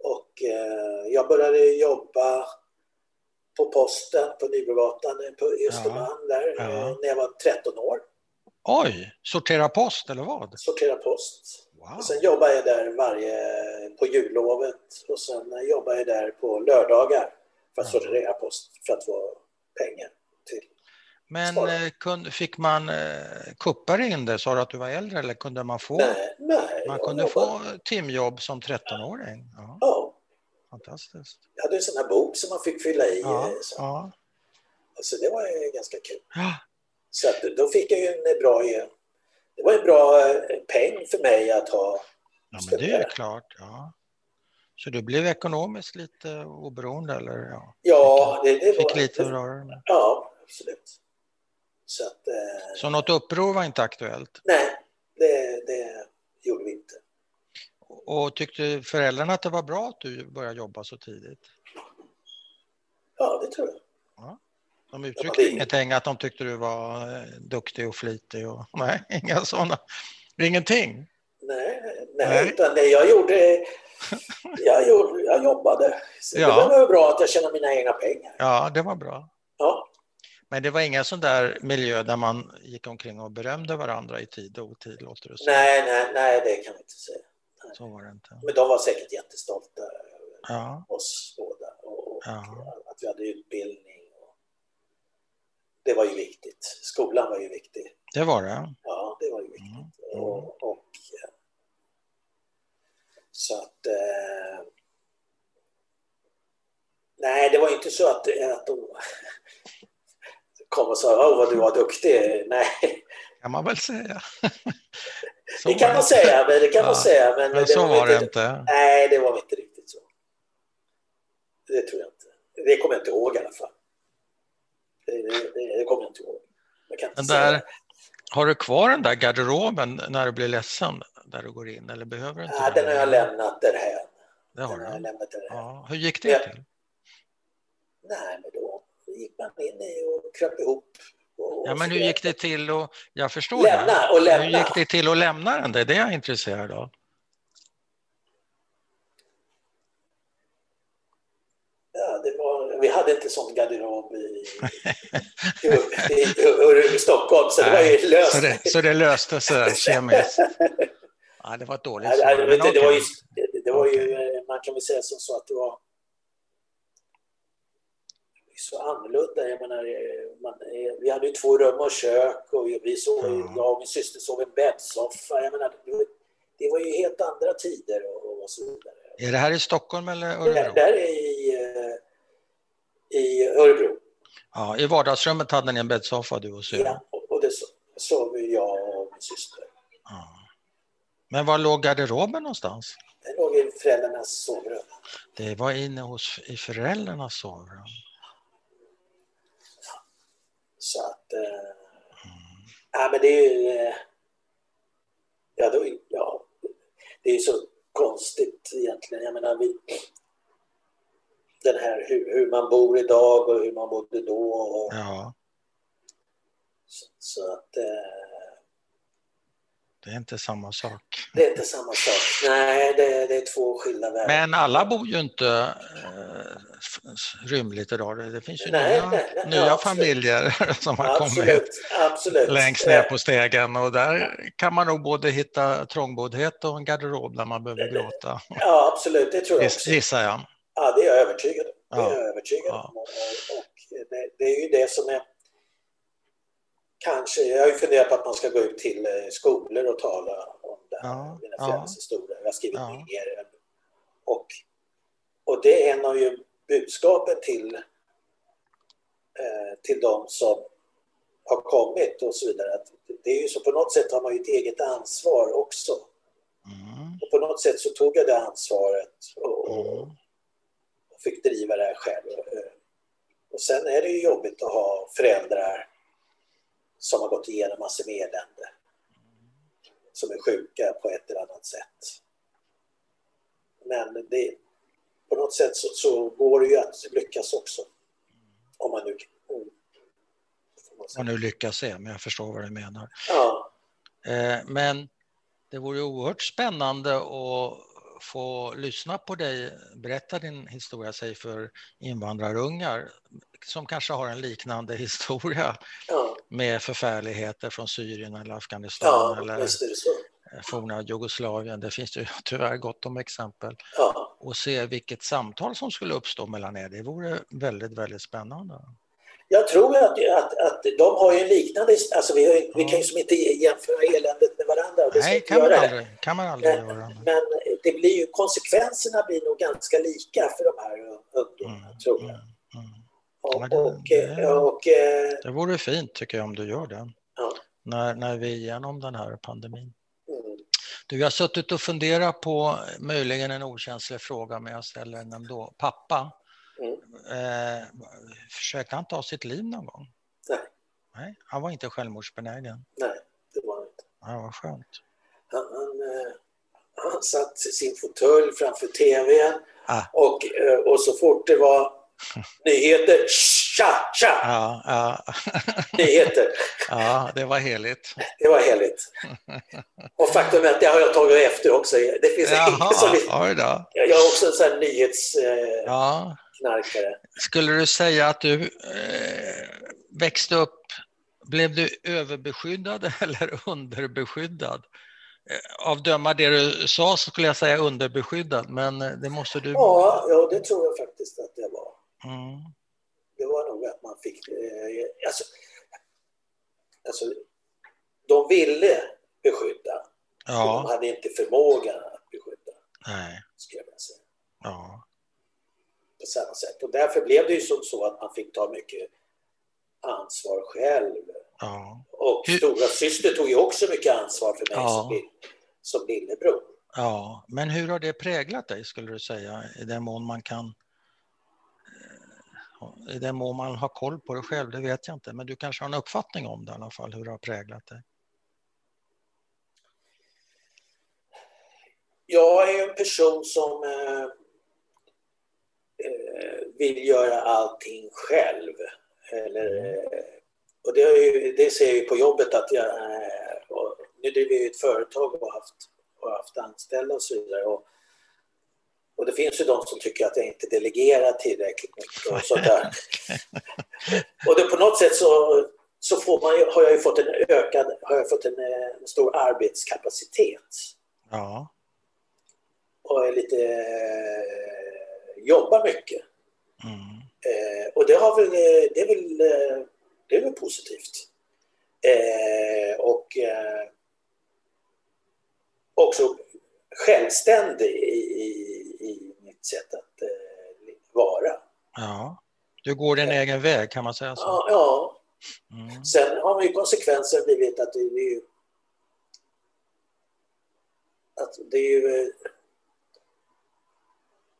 S2: Och eh, jag började jobba på posten på Nybrogatan eh, på Östermalm där
S1: Ja.
S2: eh, när jag var 13 år.
S1: Oj, sortera post eller vad?
S2: Sortera post.
S1: Wow.
S2: Och sen jobbar jag där varje, på jullovet och sen jobbar jag där på lördagar för att
S1: Ja.
S2: sortera post för att få pengar. Till.
S1: Men
S2: Svara.
S1: eh, kun, fick man eh, kuppa dig in det? Sa du att du var äldre eller kunde man få?
S2: Nej, nej.
S1: man
S2: jag
S1: kunde
S2: jobbar-
S1: få timjobb som 13-åring. Ja,
S2: Ja,
S1: fantastiskt.
S2: jag hade en sån här bok som man fick fylla i.
S1: Ja,
S2: eh, Så,
S1: ja.
S2: så det var ju ganska kul.
S1: Ja,
S2: Så att, då fick jag ju en bra... eh, Det var en bra eh, peng för mig att ha.
S1: men det är ju klart. Ja. Så du blev ekonomiskt lite oberoende eller? Ja.
S2: Ja, det, det var...
S1: Fick lite att röra dig med.
S2: Ja, absolut. Så att... eh,
S1: Så något uppror var inte aktuellt?
S2: Nej, det, det gjorde vi inte.
S1: Och tyckte föräldrarna att det var bra att du började jobba så tidigt?
S2: Ja, det tror jag.
S1: De
S2: Ja,
S1: uttryckte
S2: det-
S1: ingenting att de tyckte du var eh, duktig och flitig och nej, inga sådana. Ingenting.
S2: Nej, nej,
S1: Nej.
S2: utan det jag gjorde, jag, gjorde, jag jobbade. Så
S1: Ja.
S2: Det var bra att jag tjänade mina egna pengar.
S1: Ja, det var bra.
S2: Ja,
S1: Men det var inga sån där miljö där man gick omkring och berömde varandra i tid och otid, låter det som.
S2: nej, nej, nej, det kan vi inte säga.
S1: Så var det inte.
S2: Men de var säkert jättestolta över
S1: Ja,
S2: oss båda och, och
S1: Ja.
S2: att vi hade utbildning. Och... Det var ju viktigt. Skolan var ju viktig.
S1: det var det.
S2: Ja, det var ju viktigt.
S1: Mm.
S2: Och, och, eh, så att... Eh, nej, det var ju inte så att, att de kom och sa åh vad du var duktig. Nej,
S1: Kan man väl säga. Så
S2: det kan
S1: var
S2: man säga. Men det kan man
S1: Ja,
S2: säga men
S1: Men så
S2: väl
S1: var det
S2: inte,
S1: inte.
S2: Nej, det var väl inte riktigt så. Det tror jag inte. Det kommer jag inte ihåg i alla fall. Det, det, det, det kommer jag inte ihåg. Jag kan inte
S1: Den
S2: säga.
S1: där, har du kvar den där garderoben när du blir ledsen där du går in eller behöver du inte
S2: Nej, den har jag lämnat därhän.
S1: Det
S2: Den
S1: har
S2: har jag
S1: du.
S2: lämnat därhän.
S1: Ja, hur gick det till?
S2: Nej, men då gick man in i och kröp ihop. Och,
S1: Ja, men hur gick det till att... Jag förstår det.
S2: Lämna och
S1: Hur
S2: lämna.
S1: gick det till att lämna den? Det är det jag är intresserad av.
S2: Ja, det var, vi hade inte sån garderob i, i, i, i, i Stockholm, så det var ju löst.
S1: Så det, så det löste sig kemiskt. Ja, det var ett dåligt
S2: Nej, nej,
S1: svar,
S2: vet
S1: men
S2: du, det var ju,
S1: okej.
S2: det var ju eh, man kan väl säga som så att det var så annorlunda. Jag menar, eh, man, eh, vi hade ju två rum och kök och vi- vi sov,
S1: Ja.
S2: jag och min syster sov i en bäddsoffa. Jag menar, det var- det var ju helt andra tider och, och så vidare.
S1: Är det här i Stockholm eller
S2: Där,
S1: Örebro?
S2: där är i, eh, i Örebro.
S1: Ja, I vardagsrummet hade ni en bäddsoffa, du och syrran.
S2: Ja, och- och det so- sov ju jag och min syster.
S1: Ja. Men var låg garderoben någonstans?
S2: Den låg i föräldrarnas sovrum.
S1: Det var inne hos, i föräldrarnas sovrum.
S2: Så att... Eh, nej, men det är ju... Eh, ja, då, ja, det är ju så konstigt egentligen. Jag menar, vi, den här hur, hur man bor idag och hur man bodde då. Och,
S1: Ja,
S2: så, Så att eh,
S1: Det är inte samma sak.
S2: det är inte samma sak. Nej, det, det är två skilda världar.
S1: Men alla bor ju inte eh, f- s- rymligt idag. Det det finns ju
S2: Nej,
S1: nya,
S2: nej, nej,
S1: nya
S2: absolut.
S1: familjer som har kommit
S2: absolut, absolut.
S1: längst ner på stegen och där kan man nog både hitta trångboddhet och en garderob där man behöver gråta,
S2: Eh, Ja, absolut. Det tror jag
S1: giss-
S2: också.
S1: gissar jag.
S2: Ja, det är jag övertygad om. Det
S1: Ja.
S2: är jag övertygad
S1: Ja.
S2: om. Och, och det, det är ju det som är kanske, jag har ju funderat på att man ska gå ut till eh, skolor och tala om det här,
S1: Ja,
S2: mina
S1: ja.
S2: föräldrars historia. Jag har skrivit
S1: Ja.
S2: ner det. Och, och det är en av ju budskapen till, eh, till de som har kommit och så vidare. Att det är ju så på något sätt har man ju ett eget ansvar också.
S1: Mm.
S2: Och på något sätt så tog jag det ansvaret och, och,
S1: Mm.
S2: och fick driva det här själv. Eh, Och sen är det ju jobbigt att ha föräldrar som har gått igenom massor med elände. Som är sjuka på ett eller annat sätt. Men det, på något sätt så, så går det ju att lyckas också. Om man nu mm. Får man
S1: Och
S2: säga.
S1: nu lyckas jag, men jag förstår vad du menar.
S2: Ja,
S1: Eh, Men det vore ju oerhört spännande att få lyssna på dig berätta din historia, säg för invandrarungar som kanske har en liknande historia
S2: ja,
S1: med förfärligheter från Syrien eller Afghanistan
S2: ja,
S1: eller
S2: visst är det så.
S1: forna Jugoslavien. Det finns ju tyvärr gott om exempel.
S2: Ja.
S1: Och se vilket samtal som skulle uppstå mellan er. Det vore väldigt, väldigt spännande.
S2: Jag tror att, att, att de har ju en liknande, alltså vi, har, ju- vi
S1: Ja.
S2: kan ju som inte jämföra eländet med varandra. och det ska
S1: Nej,
S2: inte
S1: kan man
S2: göra det.
S1: aldrig, kan man aldrig
S2: Men-
S1: göra.
S2: Men det blir ju, konsekvenserna blir nog ganska lika för de här ungdomarna,
S1: Mm,
S2: tror
S1: mm,
S2: jag.
S1: mm.
S2: Och,
S1: Ja, det-
S2: och,
S1: det-
S2: och, eh,
S1: Det vore fint tycker jag om du gör det.
S2: Ja.
S1: När, när vi är igenom den här pandemin.
S2: mm,
S1: Du, jag har suttit och funderat på möjligen en okänslig fråga, men jag ställer den ändå. Pappa,
S2: Mm.
S1: eh, försökte han ta sitt liv någon gång?
S2: Nej.
S1: Nej, han var inte självmordsbenägen.
S2: nej, det var det inte.
S1: Ja, vad skönt.
S2: Han, han, eh, han satt i sin fåtölj framför tvn
S1: Ah.
S2: och, eh, och så fort det var nyheter, tja, tja,
S1: Ja, ja,
S2: nyheter.
S1: ja, det var heligt.
S2: Det var heligt. Och faktum är att det har jag tagit efter också. Det finns ingen som
S1: Jaha,
S2: vill...
S1: oj då.
S2: Jag är också en sån här eh, nyhetsknarkare.
S1: Ja, Skulle du säga att du eh, växte upp, blev du överbeskyddad eller underbeskyddad? Eh, Av döma det du sa så skulle jag säga underbeskyddad, men eh, det måste du...
S2: Ja, ja, det tror jag faktiskt att det var.
S1: Mm,
S2: Det var nog att man fick... Eh, alltså, alltså, de ville beskydda, men de
S1: ja,
S2: hade inte förmågan att beskydda,
S1: nej,
S2: skulle jag vilja säga.
S1: ja,
S2: På samma sätt. Och därför blev det ju som så att man fick ta mycket ansvar själv.
S1: ja,
S2: Och
S1: Hur-
S2: stora syster tog ju också mycket ansvar för mig
S1: Ja.
S2: som, lill, som lillebror.
S1: ja. Men hur har det präglat dig, skulle du säga, i den mån man kan... eh, I den mån man har koll på det själv, det vet jag inte, men du kanske har en uppfattning om det i alla fall, hur det har präglat dig?
S2: Jag är ju en person som eh, eh, vill göra allting själv. Eller, eh, och det, är ju, det ser jag ju på jobbet att jag... Eh, och nu driver jag ju ett företag och har haft, och har haft anställda och så vidare. Och, och det finns ju de som tycker att jag inte delegerar tillräckligt mycket och sånt där. och det, på något sätt så, så får man, ju- har jag ju fått en ökad, har jag fått en, eh, en stor arbetskapacitet
S1: Ja,
S2: och är lite, eh, jobbar mycket.
S1: mm,
S2: Eh, och det, har väl, eh, det, är väl, eh, det är väl positivt. Eh, och eh, också självständig i, i, i mitt sätt att eh, vara.
S1: Ja, du går din egen väg kan man säga så.
S2: Ja, ja.
S1: Mm.
S2: Sen har ju konsekvensen blivit att det är ju... Att det är ju... eh,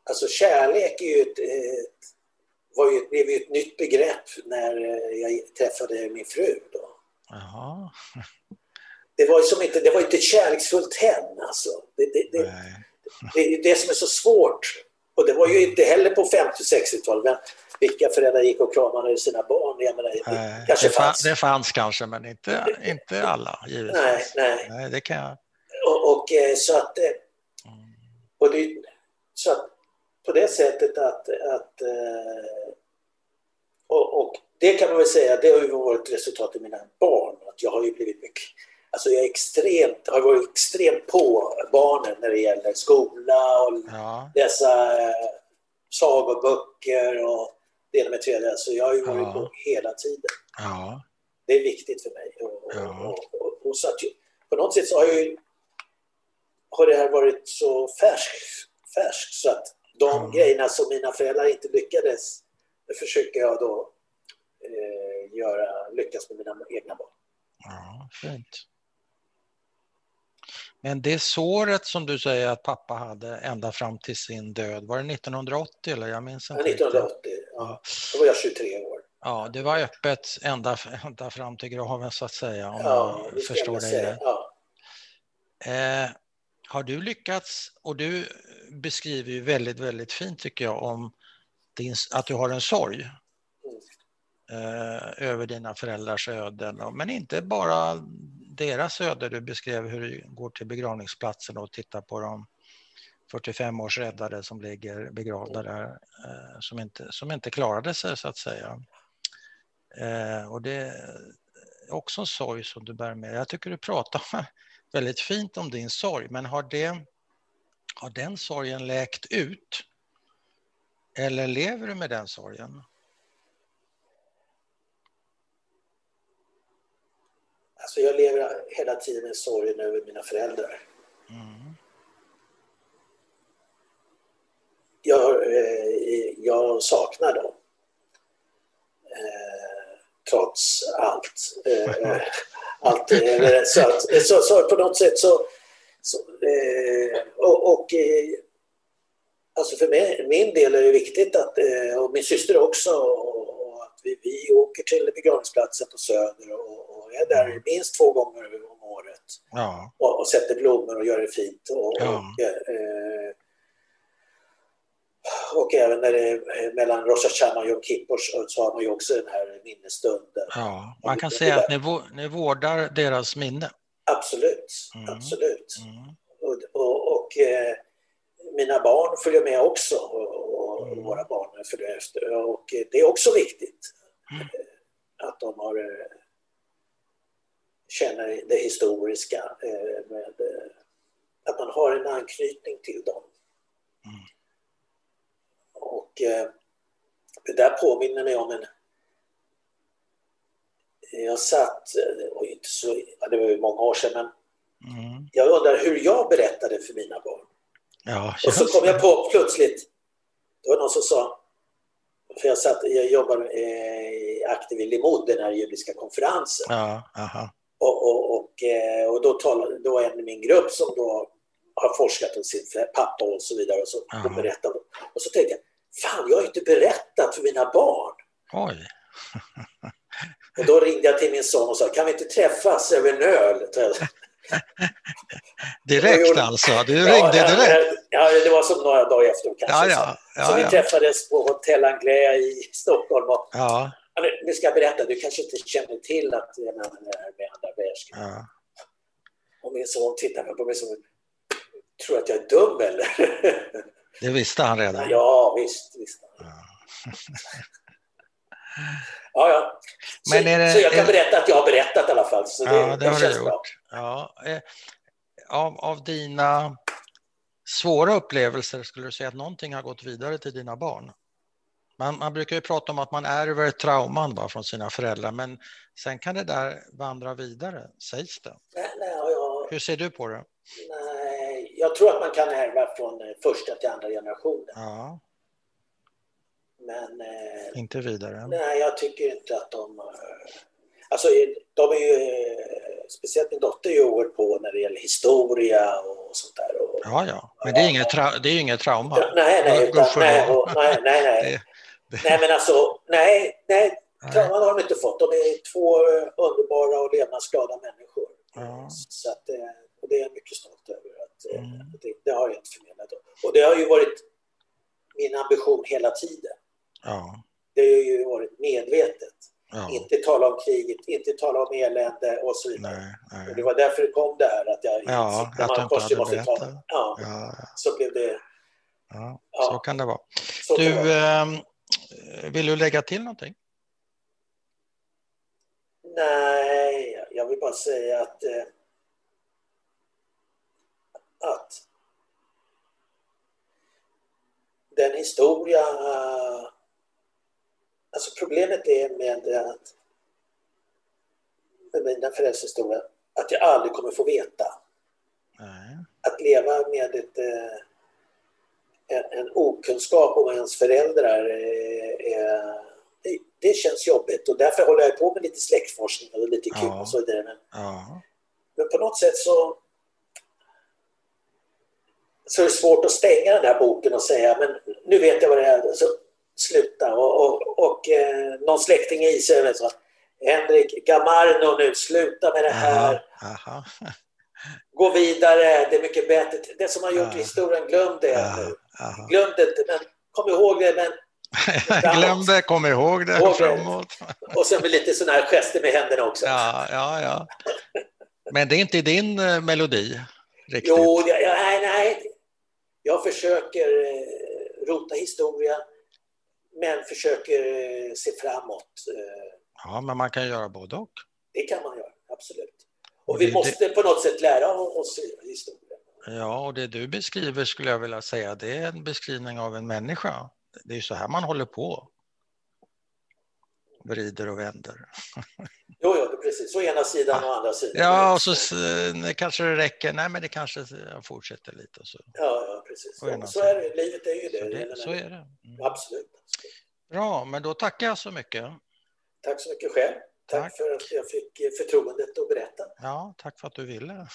S2: Alltså kärlek är ju ett, ett, var ju, blev ju ett nytt begrepp när eh, jag träffade min fru. Då.
S1: Jaha,
S2: Det var ju som inte, det var ju inte ett kärleksfullt hem alltså. Det, det, det,
S1: nej.
S2: det är ju det som är så svårt Och det var ju inte heller på 50 60-talet. Vilka föräldrar gick och kramade sina barn? Jag menar, det
S1: Eh,
S2: kanske
S1: det, fanns.
S2: fanns.
S1: det fanns kanske, men inte, inte alla givetvis.
S2: Nej, nej.
S1: Nej, det kan jag.
S2: Och, och eh, så att... eh,
S1: Mm.
S2: Och det, så att på det sättet att... att eh, och, och det kan man väl säga, det har ju varit resultatet av mina barn. Att jag har ju blivit mycket... Alltså jag är extremt, har varit extremt på barnen när det gäller skola och
S1: Ja,
S2: läsa eh, sagoböcker och det ena med det tredje. Så jag har ju varit
S1: Ja.
S2: på hela tiden.
S1: ja,
S2: Det är viktigt för mig. Och,
S1: Ja.
S2: och, och, och så att, ju- på något sätt så har, jag ju, har det här varit så färskt färsk, så att de
S1: Ja.
S2: grejerna som mina föräldrar inte lyckades det försöker jag då eh, göra, lyckas med mina egna barn.
S1: ja, fint. Men det såret som du säger att pappa hade ända fram till sin död, var det 1980 eller? Jag minns
S2: Ja,
S1: inte. riktigt.
S2: 1980, ja, då var jag 23 år.
S1: Ja, det var öppet ända, ända fram till graven så att säga, om
S2: Ja, det
S1: jag
S2: ska jag
S1: förstår
S2: väl
S1: dig
S2: säga.
S1: rätt.
S2: Ja.
S1: Eh, har du lyckats, och du beskriver ju väldigt, väldigt fint tycker jag om din, att du har en sorg eh, över dina föräldrars öden. Och- Men inte bara deras öde, du beskrev hur du går till begravningsplatsen och tittar på de 45 års räddade som ligger begravda där, eh, som inte, som inte klarade sig så att säga. Eh, och det är också en sorg som du bär med Jag tycker du pratar väldigt fint om din sorg, men har, det, har den sorgen läkt ut? Eller lever du med den sorgen?
S2: Alltså jag lever hela tiden med sorgen över mina föräldrar.
S1: Mm.
S2: jag, har, eh, jag saknar dem. Eh, trots allt. Eh, eh, allt eh, så, att, så, så på något sätt så... så eh, och, och, eh, alltså för mig, min del är det viktigt, att, eh, och min syster också, och, och att vi, vi åker till begravningsplatsen på Söder och, och är där minst två gånger om året
S1: Ja.
S2: och, och sätter blommor och gör det fint. Och,
S1: Ja.
S2: och, eh, och även när det är mellan Rosh Hashanah och Yom Kippur så- så har man ju också den här minnesstunden.
S1: Ja, man kan säga att ni, vå- ni vårdar deras minne.
S2: Absolut,
S1: Mm.
S2: absolut.
S1: Mm.
S2: Och, och, och eh, mina barn följer med också och, och
S1: Mm.
S2: våra barn följer efter. Och eh, det är också viktigt
S1: Mm.
S2: eh, att de har, eh, känner det historiska. Eh, med, eh, att man har en anknytning till dem.
S1: Mm.
S2: Och eh, det där påminner mig om en jag satt, eh, det var ju inte så, ja, det var ju många år sedan, men
S1: Mm.
S2: jag undrar hur jag berättade för mina barn.
S1: Ja,
S2: Och så
S1: just
S2: kom
S1: det.
S2: jag på plötsligt, det var någon som sa, för jag, satt, jag jobbar eh, aktiv i Limod, den här judiska konferensen.
S1: Ja, aha.
S2: Och, och, och, eh, och då, talade, då var en i min grupp som då har forskat om sin pappa och så vidare och, så, och
S1: Aha.
S2: berättade. Och så tänkte jag, fan jag har ju inte berättat för mina barn.
S1: Oj.
S2: Och då ringde jag till min son och sa, kan vi inte träffas över en öl? Jag
S1: Direkt
S2: gjorde-
S1: alltså. Du ringde direkt.
S2: Ja, ja, det var som några dagar efter
S1: Ja,
S2: kanske.
S1: ja.
S2: så vi
S1: ja, ja.
S2: träffades på Hotel Anglais i Stockholm. Och,
S1: ja,
S2: ja, men nu ska jag berätta, du kanske inte känner till att det är med andra världskriget.
S1: ja.
S2: Och min son tittade på mig som tror att jag är dum eller?
S1: Det visste han redan.
S2: ja, visst. visst.
S1: Ja.
S2: Ja, ja. Så,
S1: Men är det-
S2: så jag kan
S1: är det-
S2: berätta att jag har berättat i alla fall. Så det,
S1: Ja, det har
S2: känns
S1: du
S2: bra.
S1: gjort. Ja. eh, Av, av dina svåra upplevelser, skulle du säga att någonting har gått vidare till dina barn? Man, man brukar ju prata om att man ärver trauman va, från sina föräldrar, men sen kan det där vandra vidare, sägs det.
S2: Nej, nej, jag,
S1: Hur ser du på det?
S2: nej, jag tror att man kan ärva från eh, första till andra generationen.
S1: Ja,
S2: Men eh,
S1: inte vidare.
S2: Nej, jag tycker inte att de... eh, Alltså, de är ju... eh, Speciellt min dotter är ju oerhört på när det gäller historia och sånt där. Och,
S1: Ja, ja, men det är inget, tra- det är inget trauma.
S2: Nej, nej, utan, nej,
S1: gudskelov.
S2: och, nej, nej, nej.
S1: Det- det-
S2: Nej, men alltså, nej, nej.
S1: Nej.
S2: Trauman har de inte fått. De är två eh, underbara och levnadsglada människor.
S1: Ja.
S2: Så att, eh, och det är jag mycket stolt över. Att, eh,
S1: Mm.
S2: det, det har jag inte förmenat. Och det har ju varit hela tiden.
S1: Ja.
S2: Det har ju varit medvetet.
S1: ja.
S2: Inte tala om kriget, inte tala om elände och så vidare.
S1: Nej,
S2: Och
S1: nej.
S2: det var därför det kom det här att jag
S1: Ja,
S2: insikt när
S1: att de inte
S2: kostar
S1: hade
S2: måste ta-
S1: berättat.
S2: Ja,
S1: Ja,
S2: så blev det...
S1: ja,
S2: Ja,
S1: så kan det vara.
S2: så kan det
S1: Du,
S2: vara.
S1: ehm, vill du lägga till någonting?
S2: Nej, jag vill bara säga att... Eh, att den historia... eh, Alltså problemet är med att med mina föräldrars historia, att jag aldrig kommer få veta.
S1: Nej.
S2: att leva med ett, eh, en, en okunskap om ens föräldrar, eh, eh, det, det känns jobbigt och därför håller jag på med lite släktforskning och lite kul
S1: Ja.
S2: och så vidare. Men,
S1: Ja,
S2: men på något sätt så så är det svårt att stänga den här boken och säga men nu vet jag vad det är, så sluta. Och, och, och eh, någon släkting i sig eller så. Henrik, Gamarno nu, sluta med det här.
S1: aha, aha,
S2: Gå vidare, det är mycket bättre. Det som har gjort
S1: Ja.
S2: i historien, glöm det
S1: aha,
S2: nu.
S1: aha.
S2: Glöm det inte, men kom ihåg det. Men,
S1: Glöm det, kom ihåg det
S2: Ihåg det.
S1: framåt.
S2: och sen med lite sådana här gester med händerna också.
S1: Ja, ja, ja. Men det är inte din eh, melodi riktigt.
S2: jo, jag, jag, nej, nej. Jag försöker eh, rota historia, men försöker eh, se framåt. Eh,
S1: Ja, men man kan göra både och.
S2: det kan man göra, absolut.
S1: Och
S2: Och
S1: det-
S2: vi måste på något sätt lära oss historia.
S1: Ja, och det du beskriver skulle jag vilja säga, det är en beskrivning av en människa. Det är ju så här man håller på. Vrider och vänder.
S2: Jo, jo, det är precis. Å ena sidan och å andra sidan.
S1: Ja, och så s- kanske det räcker. Nej, men det kanske jag fortsätter lite. och Så,
S2: Ja, ja, precis.
S1: Å ena
S2: Så är det, livet är ju
S1: så,
S2: det.
S1: det, så är det. Mm.
S2: Absolut.
S1: Bra, men då tackar jag så mycket.
S2: Tack så mycket själv. Tack,
S1: Tack.
S2: för att jag fick eh, förtroendet att berätta.
S1: Ja, tack för att du ville.